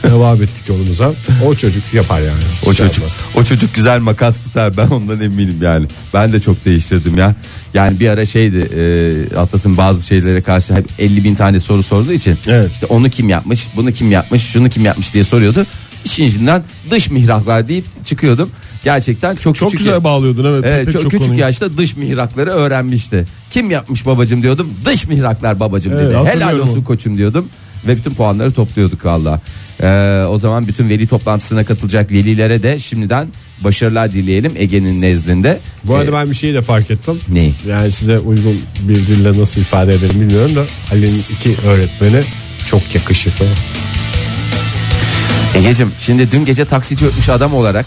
S3: devam ettik yolumuza. O çocuk yapar yani.
S2: O çocuk o çocuk güzel makas tutar ben ondan eminim yani. Ben de çok değiştirdim ya. Yani bir ara şeydi e, Atlas'ın bazı şeylere karşı hep 50 bin tane soru sorduğu için
S4: Evet.
S2: işte onu kim yapmış bunu kim yapmış şunu kim yapmış diye soruyordu. İşin içinden dış mihraklar deyip çıkıyordum. Gerçekten çok,
S4: Çok
S2: küçük
S4: güzel bağlıyordun evet.
S2: Evet,
S4: Pek
S2: çok, Ee, küçük
S4: konuyu.
S2: yaşta dış mihrakları öğrenmişti. Kim yapmış babacım diyordum. Dış mihraklar babacım
S4: Evet,
S2: dedi. Helal
S4: hatırlıyorum
S2: olsun
S4: onu.
S2: koçum diyordum. Ve bütün puanları topluyorduk valla. Ee, o zaman bütün veli toplantısına katılacak velilere de şimdiden başarılar dileyelim Ege'nin nezdinde.
S3: Bu arada
S2: Ee,
S3: ben bir şeyi de fark ettim.
S2: Neyi?
S3: Yani size uygun bir dille nasıl ifade ederim bilmiyorum da Ali'nin iki öğretmeni çok yakışıklı.
S2: Egeciğim şimdi dün gece taksici öpmüş adam olarak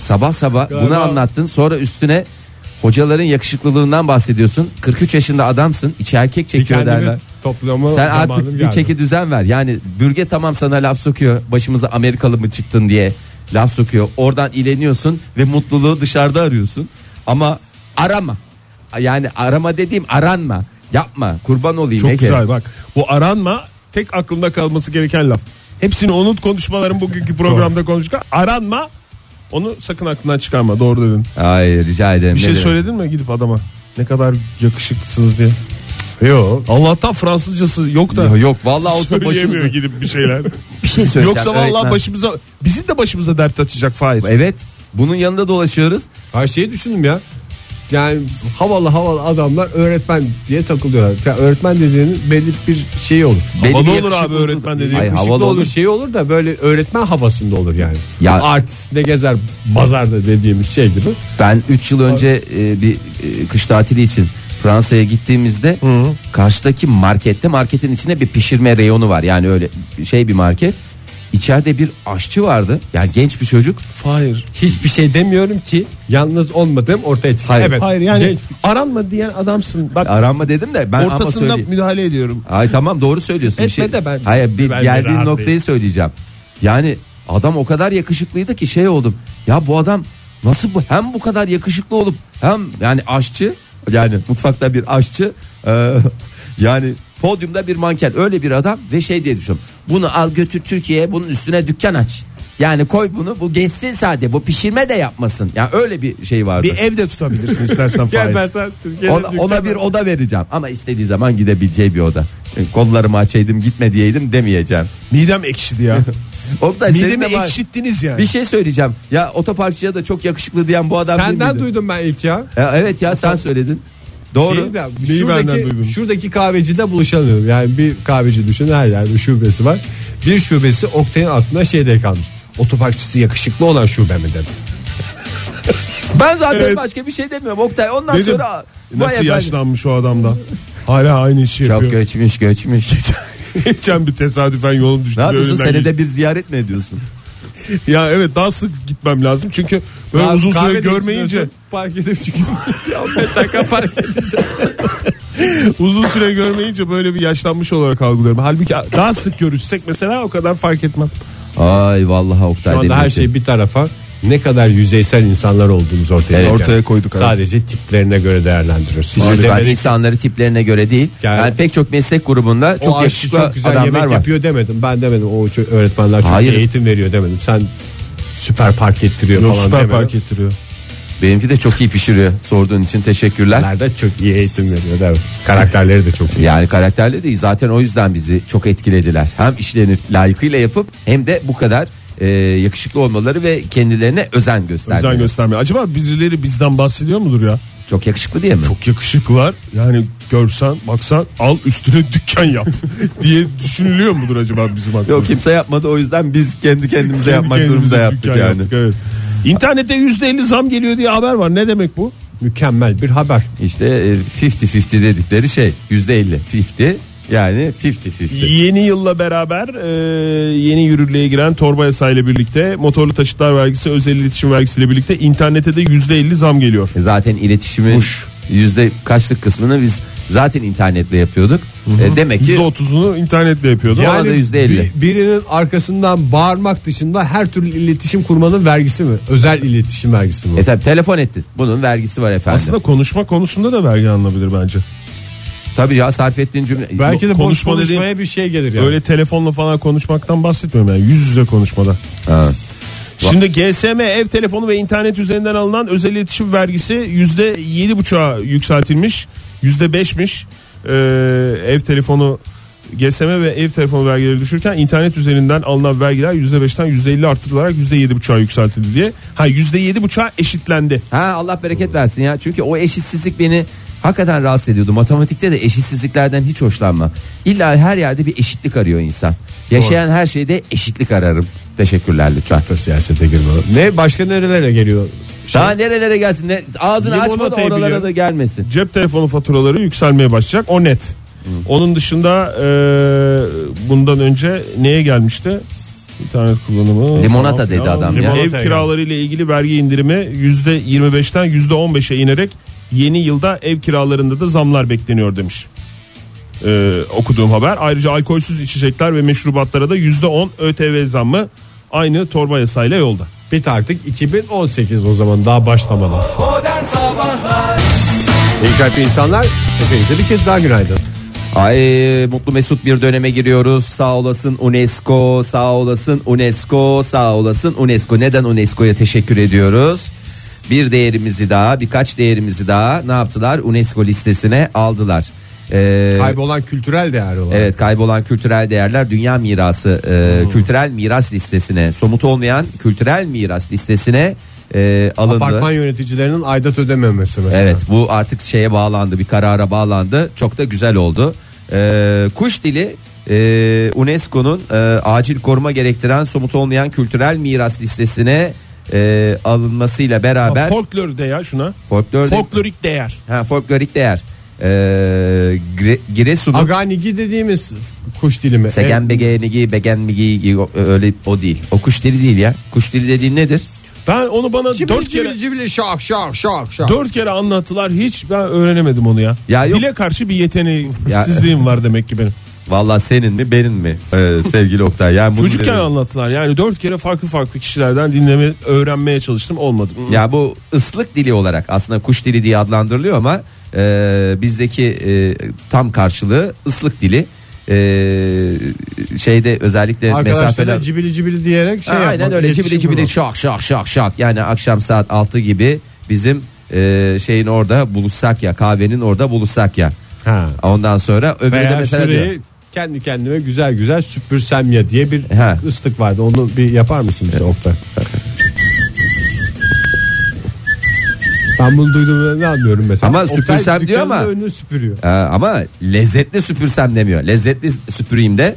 S2: sabah sabah bunu
S3: Galiba-
S2: anlattın sonra üstüne hocaların yakışıklılığından bahsediyorsun. 43 yaşında adamsın içi erkek çekiyor derler.
S3: Kendimi toplama
S2: Sen
S3: zamanım
S2: artık bir
S3: geldi.
S2: çeki düzen ver. Yani bürge tamam sana laf sokuyor. Başımıza Amerikalı mı çıktın diye laf sokuyor. Oradan ileniyorsun ve mutluluğu dışarıda arıyorsun. Ama arama. Yani arama dediğim aranma. Yapma. Kurban olayım.
S4: Çok
S2: Ege.
S4: güzel bak. Bu aranma tek aklında kalması gereken laf. Hepsini unut konuşmaların bugünkü programda konuştuk. Aranma onu sakın aklından çıkarma doğru dedin.
S2: Ay rica ederim.
S4: Bir
S2: Ne
S4: şey
S2: demek?
S4: söyledin mi gidip adama? Ne kadar yakışıklısınız diye.
S3: Yok.
S4: Allah'tan Fransızcası yok da.
S2: Ya Yok vallahi olsa
S4: Söyleyemiyor
S2: başımıza
S4: gidip bir şeyler.
S2: bir şey söyleyeceğim.
S4: Yoksa vallahi
S2: öğretmen.
S4: başımıza bizim de başımıza dert açacak Fahir.
S2: Evet. Bunun yanında dolaşıyoruz.
S3: Her şeyi düşündüm ya. Yani havalı havalı adamlar öğretmen diye takılıyorlar. Ya öğretmen dediğinin belli bir şeyi olur.
S2: Belli
S4: Havalı
S2: bir
S4: olur abi
S2: yakışıklılık-
S4: öğretmen dediğin.
S2: Ay,
S3: Yakışıklı
S2: havalı
S3: olur,
S2: olur.
S3: şey olur da böyle öğretmen havasında olur yani.
S2: Ya-
S3: Artist ne gezer pazarda dediğimiz şey gibi.
S2: Ben 3 yıl önce e, bir e, kış tatili için Fransa'ya gittiğimizde karşıdaki markette marketin içinde bir pişirme reyonu var. Yani öyle şey bir market. İçeride bir aşçı vardı. Yani genç bir çocuk.
S4: Fahir.
S3: Hiçbir şey demiyorum ki yalnız olmadığım ortaya çıksın.
S2: Hayır.
S3: evet.
S4: Hayır yani
S3: Genç-
S4: aranma diyen adamsın. Bak
S2: Aranma dedim de ben ama
S4: ortasında
S2: söyleyeyim.
S4: müdahale ediyorum.
S2: Ay tamam doğru söylüyorsun. Bir şey-
S3: Etme de ben-
S2: Hayır bir
S3: Ben de
S2: geldiğin
S3: rahatlayayım.
S2: noktayı söyleyeceğim. Yani adam o kadar yakışıklıydı ki şey oldum. Ya bu adam nasıl bu hem bu kadar yakışıklı olup hem yani aşçı yani mutfakta bir aşçı eee, yani podyumda bir manken öyle bir adam ve şey diye düşünüyorum. Bunu al götür Türkiye'ye bunun üstüne dükkan aç. Yani koy bunu bu geçsin sade bu pişirme de yapmasın. Yani öyle bir şey vardı.
S4: Bir evde tutabilirsin istersen Fahir.
S3: Gelmezsen Türkiye'de
S2: Ona, ona bir oda vereceğim ama istediği zaman gidebileceği bir oda. Kollarımı açaydım gitme diyeydim demeyeceğim.
S4: Midem ekşidi ya.
S2: O da senin
S4: Midemi
S2: de var.
S4: ekşittiniz yani.
S2: Bir şey söyleyeceğim. Ya otoparkçıya da çok yakışıklı diyen bu adam değil
S3: Senden
S2: miydi?
S3: duydum Şey ben ilk ya.
S2: E, evet ya sen söyledin. Doğru.
S3: Şeyi de,
S4: Neyi benden duydun?
S3: şuradaki, şuradaki kahvecide buluşalım. Yani bir kahveci düşün her yerde şubesi var. Bir şubesi Oktay'ın aklına şeyde kalmış. Otoparkçısı yakışıklı olan şube mi dedi.
S2: ben zaten başka bir şey demiyorum Oktay. Ondan
S4: Dedim,
S2: sonra Vay
S4: Nasıl
S2: efendim.
S4: yaşlanmış o adam da. Hala aynı işi
S2: Çok
S4: yapıyor.
S2: göçmüş göçmüş.
S4: Geçen bir tesadüfen yolum düştü.
S2: ne yapıyorsun
S4: önümden
S2: senede
S4: geçti.
S2: bir ziyaret mi ediyorsun?
S4: Ya evet daha sık gitmem lazım. Çünkü böyle
S3: Kahve-
S4: uzun
S3: kahve
S4: süre
S3: de
S4: görmeyince
S3: içmiyorsun, park edip çıkıyor.
S4: uzun süre görmeyince böyle bir yaşlanmış olarak algılıyorum. Halbuki daha sık görüşsek mesela o kadar fark etmem.
S2: Ay vallahi
S3: Şu
S2: Oktay.
S3: anda
S2: dediğin
S3: her
S2: şey.
S3: şey bir tarafa ne kadar yüzeysel insanlar olduğumuz ortaya
S2: Evet.
S3: çıkıyor.
S5: Ortaya koyduk, evet.
S3: Sadece tiplerine göre değerlendiriyoruz. Bize
S2: Lütfen
S3: demedik,
S2: insanları tiplerine göre değil.
S3: Yani-
S2: Yani pek çok meslek grubunda
S3: "O
S2: çok
S3: aşçı
S2: yakışıklı
S3: çok güzel
S2: adamlar
S3: yemek
S2: var.
S3: yapıyor demedim. Ben demedim. O ço- öğretmenler çok
S2: Hayır.
S3: iyi eğitim veriyor demedim. Sen süper park ettiriyor
S4: Yok,
S3: falan
S4: süper
S3: demedim.
S4: fark ettiriyor.
S2: Benimki de çok iyi pişiriyor. Sorduğun için teşekkürler.
S3: Nerede çok iyi eğitim veriyor evet. Karakterleri de çok iyi.
S2: Yani karakterli değil zaten o yüzden bizi çok etkilediler. Hem işlerini layıkıyla yapıp hem de bu kadar e, yakışıklı olmaları ve kendilerine özen göstermeleri.
S4: Özen göstermiyor. Acaba birileri bizden bahsediyor mudur ya?
S2: çok yakışıklı diye mi?
S4: Çok yakışıklılar. Yani görsen baksan al üstüne dükkan yap diye düşünülüyor mudur acaba bizim hakkımızda?
S2: Yok kimse yapmadı o yüzden biz kendi kendimize yapmak
S4: Kendimize
S2: durumunda yaptık
S4: dükkan
S2: yani.
S4: yaptık, evet. İnternette %50 zam geliyor diye haber var. Ne demek bu?
S3: Mükemmel bir haber.
S2: İşte e, 50-50 dedikleri şey %50 50 yani 50-50.
S4: Yeni yılla beraber e, yeni yürürlüğe giren torba yasayla birlikte motorlu taşıtlar vergisi özel iletişim vergisiyle birlikte internete de %50 zam geliyor.
S2: E, Zaten iletişimin yüzde kaçlık kısmını biz zaten internetle yapıyorduk. E, demek ki
S4: %30'unu internetle yapıyordu.
S2: Ya- Ona da yüzde elli.
S3: bir- birinin arkasından bağırmak dışında her türlü iletişim kurmanın vergisi mi? Özel iletişim vergisi mi?
S2: e tabi telefon ettin. Bunun vergisi var efendim.
S4: Aslında konuşma konusunda da vergi alınabilir bence.
S2: Tabii ya sarf ettiğin cümle.
S3: Belki de boş
S4: konuşma dediğim-
S3: konuşmaya bir şey gelir yani.
S4: Öyle telefonla falan konuşmaktan bahsetmiyorum yani yüz yüze konuşmada.
S2: Ha.
S4: Şimdi GSM ev telefonu ve internet üzerinden alınan özel iletişim vergisi yüzde yedi yükseltilmiş. Yüzde beşmiş. Ee, ev telefonu GSM ve ev telefonu vergileri düşürken internet üzerinden alınan vergiler %5'ten %50 arttırılarak %7,5'a yükseltildi diye. Ha %7,5'a eşitlendi.
S2: Ha Allah bereket versin ya. Çünkü o eşitsizlik beni hakikaten rahatsız ediyordu. Matematikte de eşitsizliklerden hiç hoşlanmam. İlla her yerde bir eşitlik arıyor insan. Yaşayan her şeyde eşitlik ararım. Teşekkürler lütfen.
S3: Da siyasete girme. Ne başka nerelere geliyor?
S2: Daha nerelere gelsin? Ne, ağzını açma da
S4: Limonatayı
S2: oralara
S4: biliyorum.
S2: da gelmesin.
S4: Cep telefonu faturaları yükselmeye başlayacak. O net. Onun dışında e, bundan önce neye gelmişti? İnternet kullanımı.
S2: Limonata
S4: falan
S2: dedi
S4: filan.
S2: adam ya.
S4: Ev
S3: Limonataya
S4: kiraları ile ilgili vergi indirimi %25'ten %15'e inerek yeni yılda ev kiralarında da zamlar bekleniyor demiş. E, okuduğum haber. Ayrıca alkolsüz içecekler ve meşrubatlara da %10 ÖTV zammı aynı torba yasayla yolda.
S3: Bit artık 2018 o zaman daha başlamadan. İyi kalp insanlar hepinize bir kez daha günaydın.
S2: Ay mutlu mesut bir döneme giriyoruz. Sağ olasın UNESCO, sağ olasın UNESCO, sağ olasın UNESCO. Neden UNESCO'ya teşekkür ediyoruz? Bir değerimizi daha, birkaç değerimizi daha ne yaptılar? UNESCO listesine aldılar. Ee,
S3: Kaybolan kültürel değer olarak.
S2: Evet kaybolan kültürel değerler dünya mirası
S3: Hmm.
S2: e, kültürel miras listesine somut olmayan kültürel miras listesine e, alındı.
S3: Apartman yöneticilerinin aidat ödememesi mesela.
S2: Evet bu artık şeye bağlandı bir karara bağlandı çok da güzel oldu. Ee, kuş dili e, UNESCO'nun e, acil koruma gerektiren somut olmayan kültürel miras listesine e, alınmasıyla beraber
S4: Folklor de ya şuna.
S2: folklor,
S4: Folklorik değer.
S2: ha, folklorik değer ee, Gire- Giresun'un
S3: Aganigi dediğimiz kuş dilimi. E,
S2: Segen begenigi begen migi o- öyle o değil. O kuş dili değil ya. Kuş dili dediğin nedir?
S4: Ben onu bana
S3: Cibili
S4: dört
S3: cibili
S4: kere
S3: cibili şak şak şak şak.
S4: Dört kere anlattılar hiç ben öğrenemedim onu ya.
S2: Ya yok.
S4: Dile karşı bir
S2: Ya-
S4: yeteneksizliğim var demek ki benim.
S2: Vallahi senin mi benim mi Ee, sevgili Oktay? Yani bunu
S4: Çocukken
S2: dedim.
S4: anlattılar yani dört kere farklı farklı kişilerden dinleme öğrenmeye çalıştım olmadı.
S2: Ya bu ıslık dili olarak aslında kuş dili diye adlandırılıyor ama e, bizdeki e, tam karşılığı ıslık dili. E, şeyde özellikle
S3: Arkadaşlarına
S2: mesafeler.
S3: cibili cibili diyerek şey
S2: Ha,
S3: yapmak.
S2: aynen öyle cibili
S3: iletişimi
S2: cibili
S3: bu.
S2: şak şak şak şak yani akşam saat 6 gibi bizim e, şeyin orada buluşsak ya kahvenin orada buluşsak ya.
S3: Ha.
S2: Ondan sonra öbürü de
S3: Veya
S2: mesela diyor.
S3: şurayı kendi kendime güzel güzel süpürsem ya diye bir
S2: Ha.
S3: ıslık vardı. Onu bir yapar mısın bize Oktay? Ben bunu duyduğumda ne anlıyorum mesela?
S2: Ama
S3: Oktay
S2: süpürsem diyor
S3: dükkanın
S2: ama-
S3: önünü süpürüyor.
S2: Ee, ama lezzetli süpürsem demiyor. Lezzetli süpüreyim de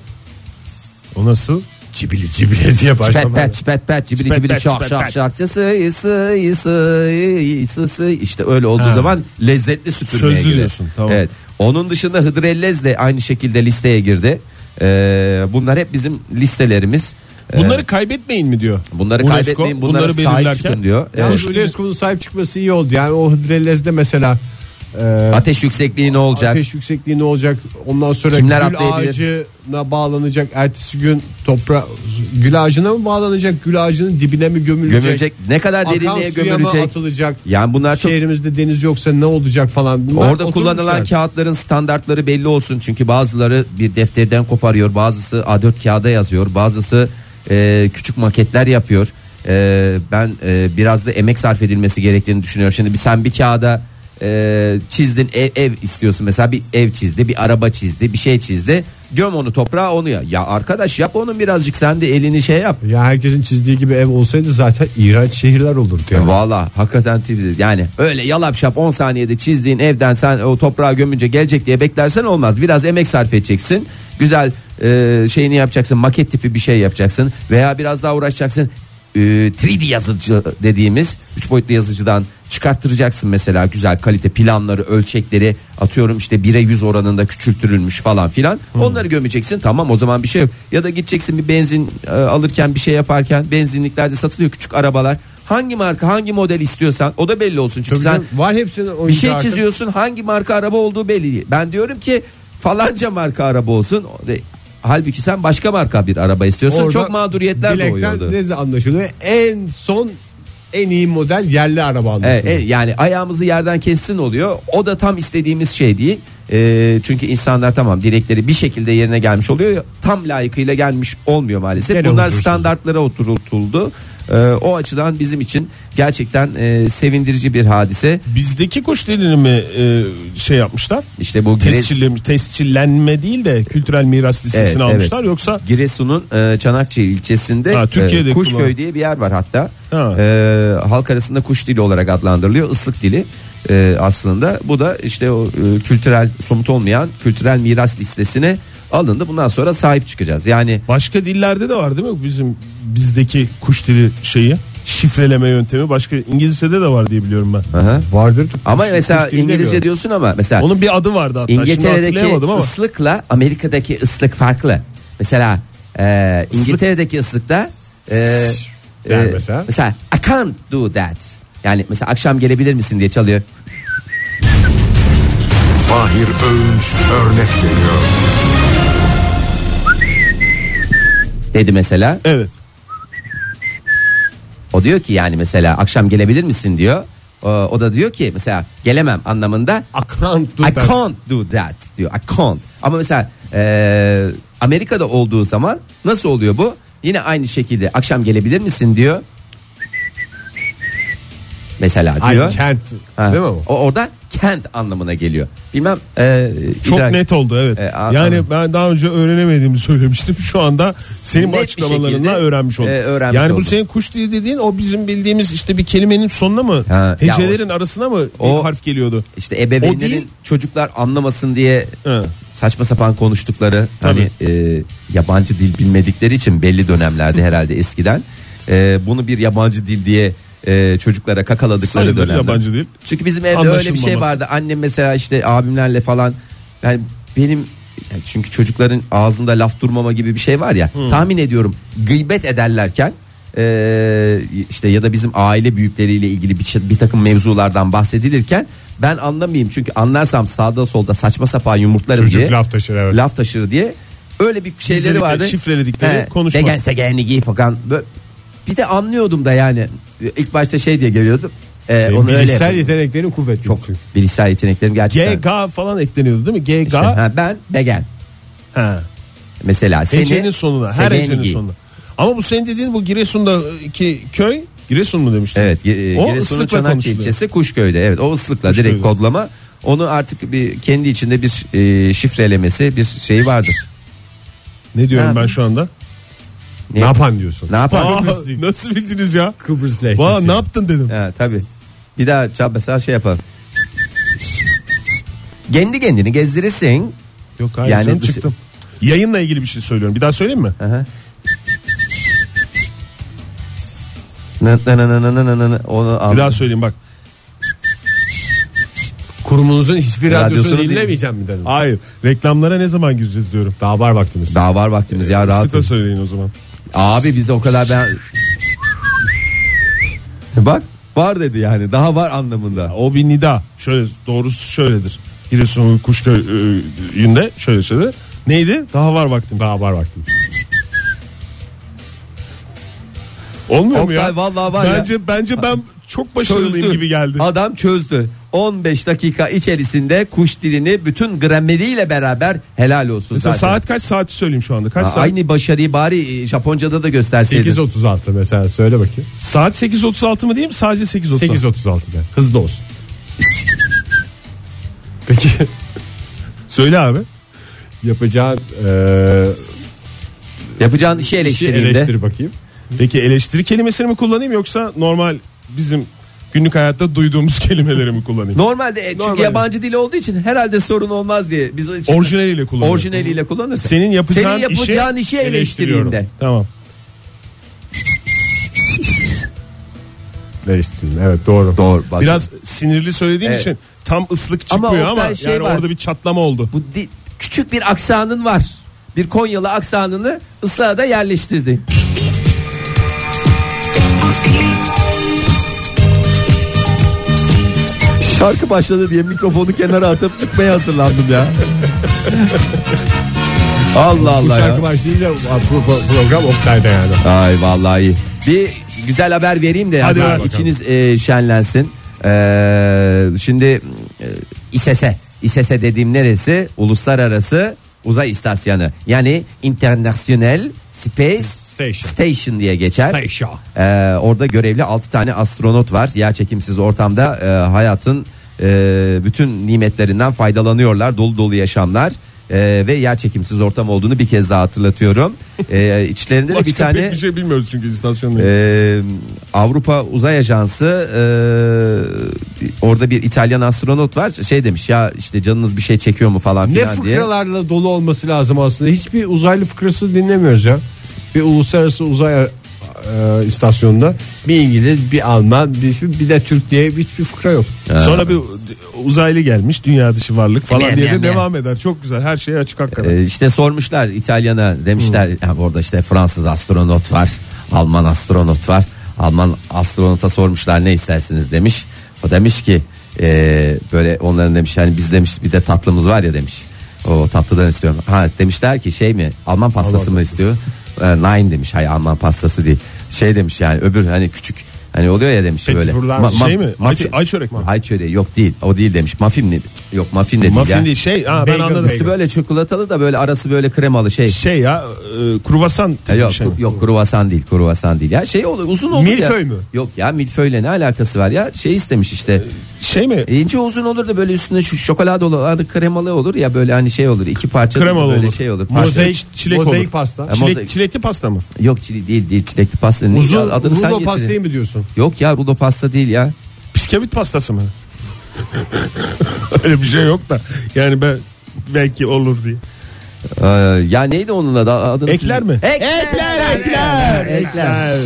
S4: O nasıl?
S3: Cibili cibili diye
S2: pet
S3: başlamak.
S2: pet pet pet cibili
S4: Çipet
S2: cibili
S4: pet,
S2: şak
S4: çipet
S2: şak
S4: pet.
S2: şak sı sı sı sı sı sı işte öyle olduğu zaman lezzetli süpürmeye
S4: Sözlü
S2: giriyor.
S4: diyorsun, tamam.
S2: Evet. Onun dışında Hıdrellez de aynı şekilde listeye girdi. Ee, bunlar hep bizim listelerimiz. Ee,
S4: Bunları kaybetmeyin mi diyor.
S2: bunları
S4: UNESCO,
S2: kaybetmeyin, bunlara
S4: bunları
S2: sahip
S4: belirlerken-
S2: çıkın diyor.
S3: Yani
S2: Evet.
S3: şu UNESCO'nun sahip çıkması iyi oldu. Yani o Hıdrellez'de mesela e,
S2: Ateş yüksekliği ne olacak?
S3: ateş yüksekliği ne olacak? Ondan sonra
S2: Kimler
S3: gül
S2: atlayabilir?
S3: ağacına bağlanacak. Ertesi gün topra gül ağacına mı bağlanacak? Gül ağacının dibine mi gömülecek?
S2: gömülecek. Ne kadar
S3: Akan
S2: derinliğe
S3: suya mı
S2: gömülecek?
S3: atılacak?
S2: Yani bunlar çok
S3: Şehrimizde deniz yoksa ne olacak falan. Bunlar
S2: Orada
S3: oturmuşlar.
S2: kullanılan kağıtların standartları belli olsun. Çünkü bazıları bir defterden koparıyor, bazısı A4 kağıda yazıyor, bazısı e, küçük maketler yapıyor. E, ben e, biraz da emek sarf edilmesi gerektiğini düşünüyorum. Şimdi bir, sen bir kağıda e, çizdin ev, ev istiyorsun mesela bir ev çizdi, bir araba çizdi, bir şey çizdi. Göm onu toprağa onu ya. Ya arkadaş yap onun birazcık sen de elini şey yap.
S3: Ya herkesin çizdiği gibi ev olsaydı zaten iğrenç şehirler olurdu. Yani.
S2: Valla hakikaten tip- yani öyle yalap şap 10 saniyede çizdiğin evden sen o toprağa gömünce gelecek diye beklersen olmaz. Biraz emek sarf edeceksin. Güzel e, şeyini yapacaksın maket tipi bir şey yapacaksın veya biraz daha uğraşacaksın. E, 3D yazıcı dediğimiz 3 boyutlu yazıcıdan çıkarttıracaksın mesela güzel kalite planları ölçekleri atıyorum işte 1'e 100 oranında küçültürülmüş falan filan onları gömeceksin tamam o zaman bir şey yok ya da gideceksin bir benzin e, alırken bir şey yaparken benzinliklerde satılıyor küçük arabalar hangi marka hangi model istiyorsan o da belli olsun çünkü
S3: Tabii
S2: sen
S3: canım, var hepsinin
S2: bir
S3: oyuncu
S2: şey
S3: artık.
S2: çiziyorsun hangi marka araba olduğu belli değil. Ben diyorum ki falanca marka araba olsun. O de- Halbuki sen başka marka bir araba istiyorsun.
S3: Orada
S2: Çok mağduriyetler
S3: dilekten
S2: doğuyordu.
S3: ne anlaşılıyor? En son en iyi model yerli araba anlaşılıyor.
S2: Evet, evet, E, yani ayağımızı yerden kessin oluyor. O da tam istediğimiz şey değil. Ee, çünkü insanlar tamam dilekleri bir şekilde yerine gelmiş oluyor. ya, Tam layıkıyla gelmiş olmuyor maalesef.
S3: Gene
S2: Bunlar
S3: otursun.
S2: standartlara oturtuldu. Ee, o açıdan bizim için gerçekten e, sevindirici bir hadise.
S4: Bizdeki kuş dilini mi e, şey yapmışlar?
S2: İşte bu Gires-
S4: Tescillemiş, tescillenme değil de kültürel miras listesini
S2: Evet,
S4: almışlar.
S2: evet.
S4: Yoksa
S2: Giresun'un e, Çanakçı ilçesinde
S4: Ha, Türkiye'de
S2: e, Kuşköy
S4: kullan-
S2: diye bir yer var hatta.
S4: Ha.
S2: E, halk arasında kuş dili olarak adlandırılıyor. Islık dili e, aslında. Bu da işte o e, kültürel somut olmayan kültürel miras listesine alındı. Bundan sonra sahip çıkacağız. Yani
S4: başka dillerde de var değil mi? Bizim bizdeki kuş dili şeyi şifreleme yöntemi başka İngilizce'de de var diye biliyorum ben.
S2: Aha.
S3: Vardır.
S2: ama mesela
S3: kuş dili
S2: İngilizce
S3: demiyorum.
S2: diyorsun ama mesela
S4: Onun bir adı vardı hatta. Şimdi
S2: İngiltere'deki
S4: hatırlayamadım ama.
S2: ıslıkla Amerika'daki ıslık farklı. Mesela e, İngiltere'deki ıslıkta e,
S3: Der mesela.
S2: I can't do that. Yani mesela akşam gelebilir misin diye çalıyor.
S6: Fahir Öğünç örnek veriyor.
S2: dedi mesela.
S4: Evet.
S2: O diyor ki yani mesela akşam gelebilir misin diyor. O, o da diyor ki mesela gelemem anlamında
S3: Akran dur
S2: I
S3: ben.
S2: can't do that diyor. I can't. Ama mesela e, Amerika'da olduğu zaman nasıl oluyor bu? Yine aynı şekilde akşam gelebilir misin diyor. Mesela diyor.
S3: Ay, kent.
S2: Ha.
S3: Değil mi bu?
S2: O orada kent anlamına geliyor. Bilmem e,
S4: Çok
S2: idrak-
S4: net oldu evet.
S2: E, a-
S4: yani
S2: anladım.
S4: ben daha önce öğrenemediğimi söylemiştim. Şu anda senin bu
S2: Net bir şekilde,
S4: açıklamalarınla öğrenmiş oldum.
S2: e, öğrenmiş
S4: yani bu
S2: oldum.
S4: senin kuş dili dediğin o bizim bildiğimiz işte bir kelimenin sonuna mı?
S2: Ha, ya
S4: hecelerin arasına mı
S2: O-
S4: bir harf geliyordu?
S2: İşte ebeveynlerin
S4: O değil.
S2: çocuklar anlamasın diye
S4: He.
S2: saçma sapan konuştukları hani e, yabancı dil bilmedikleri için belli dönemlerde herhalde eskiden e, bunu bir yabancı dil diye e, çocuklara kakaladıkları
S4: Sayılır
S2: dönemler.
S4: yabancı dil.
S2: Çünkü bizim evde öyle bir
S4: Anlaşılmaması.
S2: şey vardı. Annem mesela işte abimlerle falan yani benim yani çünkü çocukların ağzında laf durmama gibi bir şey var ya.
S3: Hmm.
S2: Tahmin ediyorum gıybet ederlerken e, işte ya da bizim aile büyükleriyle ilgili bir, şey- bir takım mevzulardan bahsedilirken ben anlamayayım çünkü anlarsam sağda solda saçma sapan yumurtlarım
S3: Çocuk
S2: diye
S3: laf taşır evet.
S2: laf taşırı diye öyle bir şeyleri
S4: Gizlilikle,
S2: vardı.
S4: şifreledikleri konuşma.
S2: Degen segenli giy falan. Bö- Bir de anlıyordum da yani ilk başta şey diye geliyordum. Ee,
S3: Şey,
S2: onu öyle
S3: bilişsel
S2: yapıyordum.
S3: yeteneklerin kuvvetli. Çok.
S2: bilişsel yeteneklerim gerçekten.
S4: GG falan ekleniyordu değil mi? GG.
S2: İşte, ha, ben begen
S4: Ha.
S2: mesela seni
S4: Hecenin sonuna. Her
S2: segenli
S4: hecenin
S2: giy.
S4: sonuna. Ama bu senin dediğin bu Giresun'daki köy Giresun mu demiştin?
S2: Evet, e,
S4: O
S2: Giresun'un
S4: ıslıkla
S2: Çanakçı
S4: konuşuluyor.
S2: ilçesi Kuşköy'de. Evet, o ıslıkla
S4: Kuşköy'de.
S2: direkt kodlama. Onu artık bir kendi içinde bir e, şifrelemesi, bir şeyi vardır.
S4: Ne diyorum
S2: Ha.
S4: ben şu anda?
S3: Ne yapan diyorsun?
S2: Ne yapar?
S4: Aa, nasıl bildiniz ya?
S3: Kıbrıs lehçesi.
S4: Valla ne yaptın dedim.
S2: Ha, tabii. Bir daha çal mesela şey yapalım. Kendi kendini gezdirirsin.
S4: Yok hayır
S2: Yani
S4: canım,
S2: dışı-
S4: çıktım. Yayınla ilgili bir şey söylüyorum. Bir daha söyleyeyim mi?
S2: Aha. Nı- nı- nı- nı- nı- nı- nı- Onu
S4: Bir
S2: al.
S4: daha söyleyeyim bak.
S3: Kurumunuzun hiçbir
S2: Radyosunu
S3: radyosunu,
S2: değil.
S3: dinlemeyeceğim mi dedim.
S4: Hayır. Reklamlara ne zaman gireceğiz diyorum.
S3: Daha var vaktimiz.
S2: Daha var vaktimiz ya rahat.
S4: Sıkla söyleyin o zaman.
S2: Abi biz o kadar ben E Bak var dedi yani daha var anlamında.
S4: O bir nida. Şöyle doğrusu şöyledir. Giresun Kuşköy'ünde şöyle şöyle. Neydi? Daha var vaktim. Daha var vaktim. Olmuyor mu
S2: Oktay
S4: ya?
S2: vallahi var ya.
S4: bence bence ben çok başarılıyım gibi geldi.
S2: Adam çözdü. 15 dakika içerisinde kuş dilini bütün grameriyle beraber helal olsun
S4: Mesela
S2: zaten.
S4: saat kaç saati söyleyeyim şu anda? Kaç
S2: Ha,
S4: saat?
S2: Aynı başarıyı bari e, Japonca'da da gösterseydin.
S3: 8.36 mesela söyle bakayım.
S4: Saat 8.36 mı diyeyim? Sadece 8.36.
S3: 8.36'da. Hızlı olsun. Peki
S4: Söyle abi.
S3: yapacağın
S4: e,
S3: eee
S2: Yapacağın işi
S3: işi
S2: eleştirdiğinde
S3: eleştir bakayım.
S4: Peki eleştiri kelimesini mi kullanayım yoksa normal bizim günlük hayatta duyduğumuz kelimeleri mi kullanayım?
S2: Normalde e, çünkü
S4: Normal.
S2: yabancı dil olduğu için herhalde sorun olmaz diye biz için
S4: Orijinaliyle kullanıyorum.
S2: orijinaliyle kullanırsın.
S4: Senin yapacağın,
S2: Senin yapacağın işi
S4: eleştiriyorum.
S2: eleştirdiğinde.
S4: Tamam.
S3: Eleştirin evet doğru.
S2: Doğru. bak.
S4: Biraz sinirli söylediğim
S2: Evet.
S4: için tam ıslık
S2: Ama
S4: çıkmıyor ama,
S2: Oktay şey
S4: yani
S2: var.
S4: orada bir çatlama oldu.
S2: Bu di- küçük bir aksanın var. Bir Konyalı aksanını ıslahada yerleştirdin. Şarkı başladı diye mikrofonu kenara atıp çıkmaya hazırlandım ya. Allah
S3: Bu
S2: Allah ya.
S3: şarkı başlığıyla bu- bu- bu program Oktay'da yani.
S2: Ay vallahi. Bir güzel haber vereyim de
S4: Hadi
S2: yani
S4: ver bakalım.
S2: içiniz e, şenlensin. E, şimdi e, İSES'e İSES'e dediğim neresi? Uluslararası Uzay İstasyonu. Yani International Space
S3: Station.
S2: Station, diye geçer.
S3: Station.
S2: E, orada görevli 6 tane astronot var. Yer çekimsiz ortamda e, hayatın e, bütün nimetlerinden faydalanıyorlar. Dolu dolu yaşamlar. E, ve yer çekimsiz ortam olduğunu bir kez daha hatırlatıyorum. E, içlerinde de
S5: Başka
S2: bir tane
S5: pek bir şey bilmiyoruz çünkü istasyonda.
S2: ee, Avrupa Uzay Ajansı ee, orada bir İtalyan astronot var şey demiş ya işte canınız bir şey çekiyor mu falan
S3: Ne
S2: filan diye.
S3: fıkralarla dolu olması lazım aslında. Hiçbir uzaylı fıkrası dinlemiyoruz ya. Bir uluslararası uzay e, istasyonunda bir İngiliz, bir Alman, bir, bir de Türk diye hiçbir fıkra yok.
S5: Sonra bir uzaylı gelmiş dünya dışı varlık falan
S2: Bilmem,
S5: diye de
S2: bilmem,
S5: devam eder. Çok güzel her şeye açık hakikaten.
S2: Ee, işte sormuşlar İtalyana demişler
S5: Hmm.
S2: ha, orada işte Fransız astronot var Alman astronot var Alman astronota sormuşlar ne istersiniz demiş o demiş ki ee, böyle onların demiş yani biz demiş bir de tatlımız var ya demiş o tatlıdan istiyorum ha demişler ki şey mi Alman pastası mı istiyor Ee, nine demiş hayır Alman pastası değil şey demiş yani öbür hani küçük hani oluyor ya demiş böyle
S3: fırlar
S5: şey mi? Ay, ay çörek mi?
S2: ay çöreği yok değil o değil demiş muffin mi yok muffin de değil ya.
S5: Muffin değil şey ha, ben
S3: Bagel,
S5: anladım.
S2: Üstü böyle çikolatalı da böyle arası böyle kremalı şey.
S5: Şey ya e, kruvasan
S2: Ya
S5: tipi
S2: yok,
S5: şey.
S2: kur- yok kruvasan değil kruvasan değil ya şey oluyor uzun olur
S3: Milföy
S2: ya.
S3: mü?
S2: Yok ya milföyle ne alakası var ya şey istemiş işte
S5: Şey mi?
S2: ince uzun olur da böyle üstüne şu şokoladalı kremalı olur ya böyle hani şey olur iki parça
S5: Kremalı
S2: böyle
S5: olur.
S2: şey olur Parça-
S3: Mozaik,
S5: çilek
S3: mozaik
S5: olur.
S3: pasta.
S2: Ama-
S5: Çilek,
S2: mozaik.
S5: çilekli pasta mı?
S2: yok çili değil değil çilekli pasta ne
S3: Uzun
S2: ya, adını sen
S3: rulo
S2: getirin.
S3: pastayı mı diyorsun?
S2: Yok ya rulo pasta değil ya
S5: Piskevit pastası mı? Öyle bir şey yok da. Yani ben belki olur diye.
S2: Ee, ya neydi onun adı adını
S5: Ekler mi?
S2: Ekler ekler, ekler.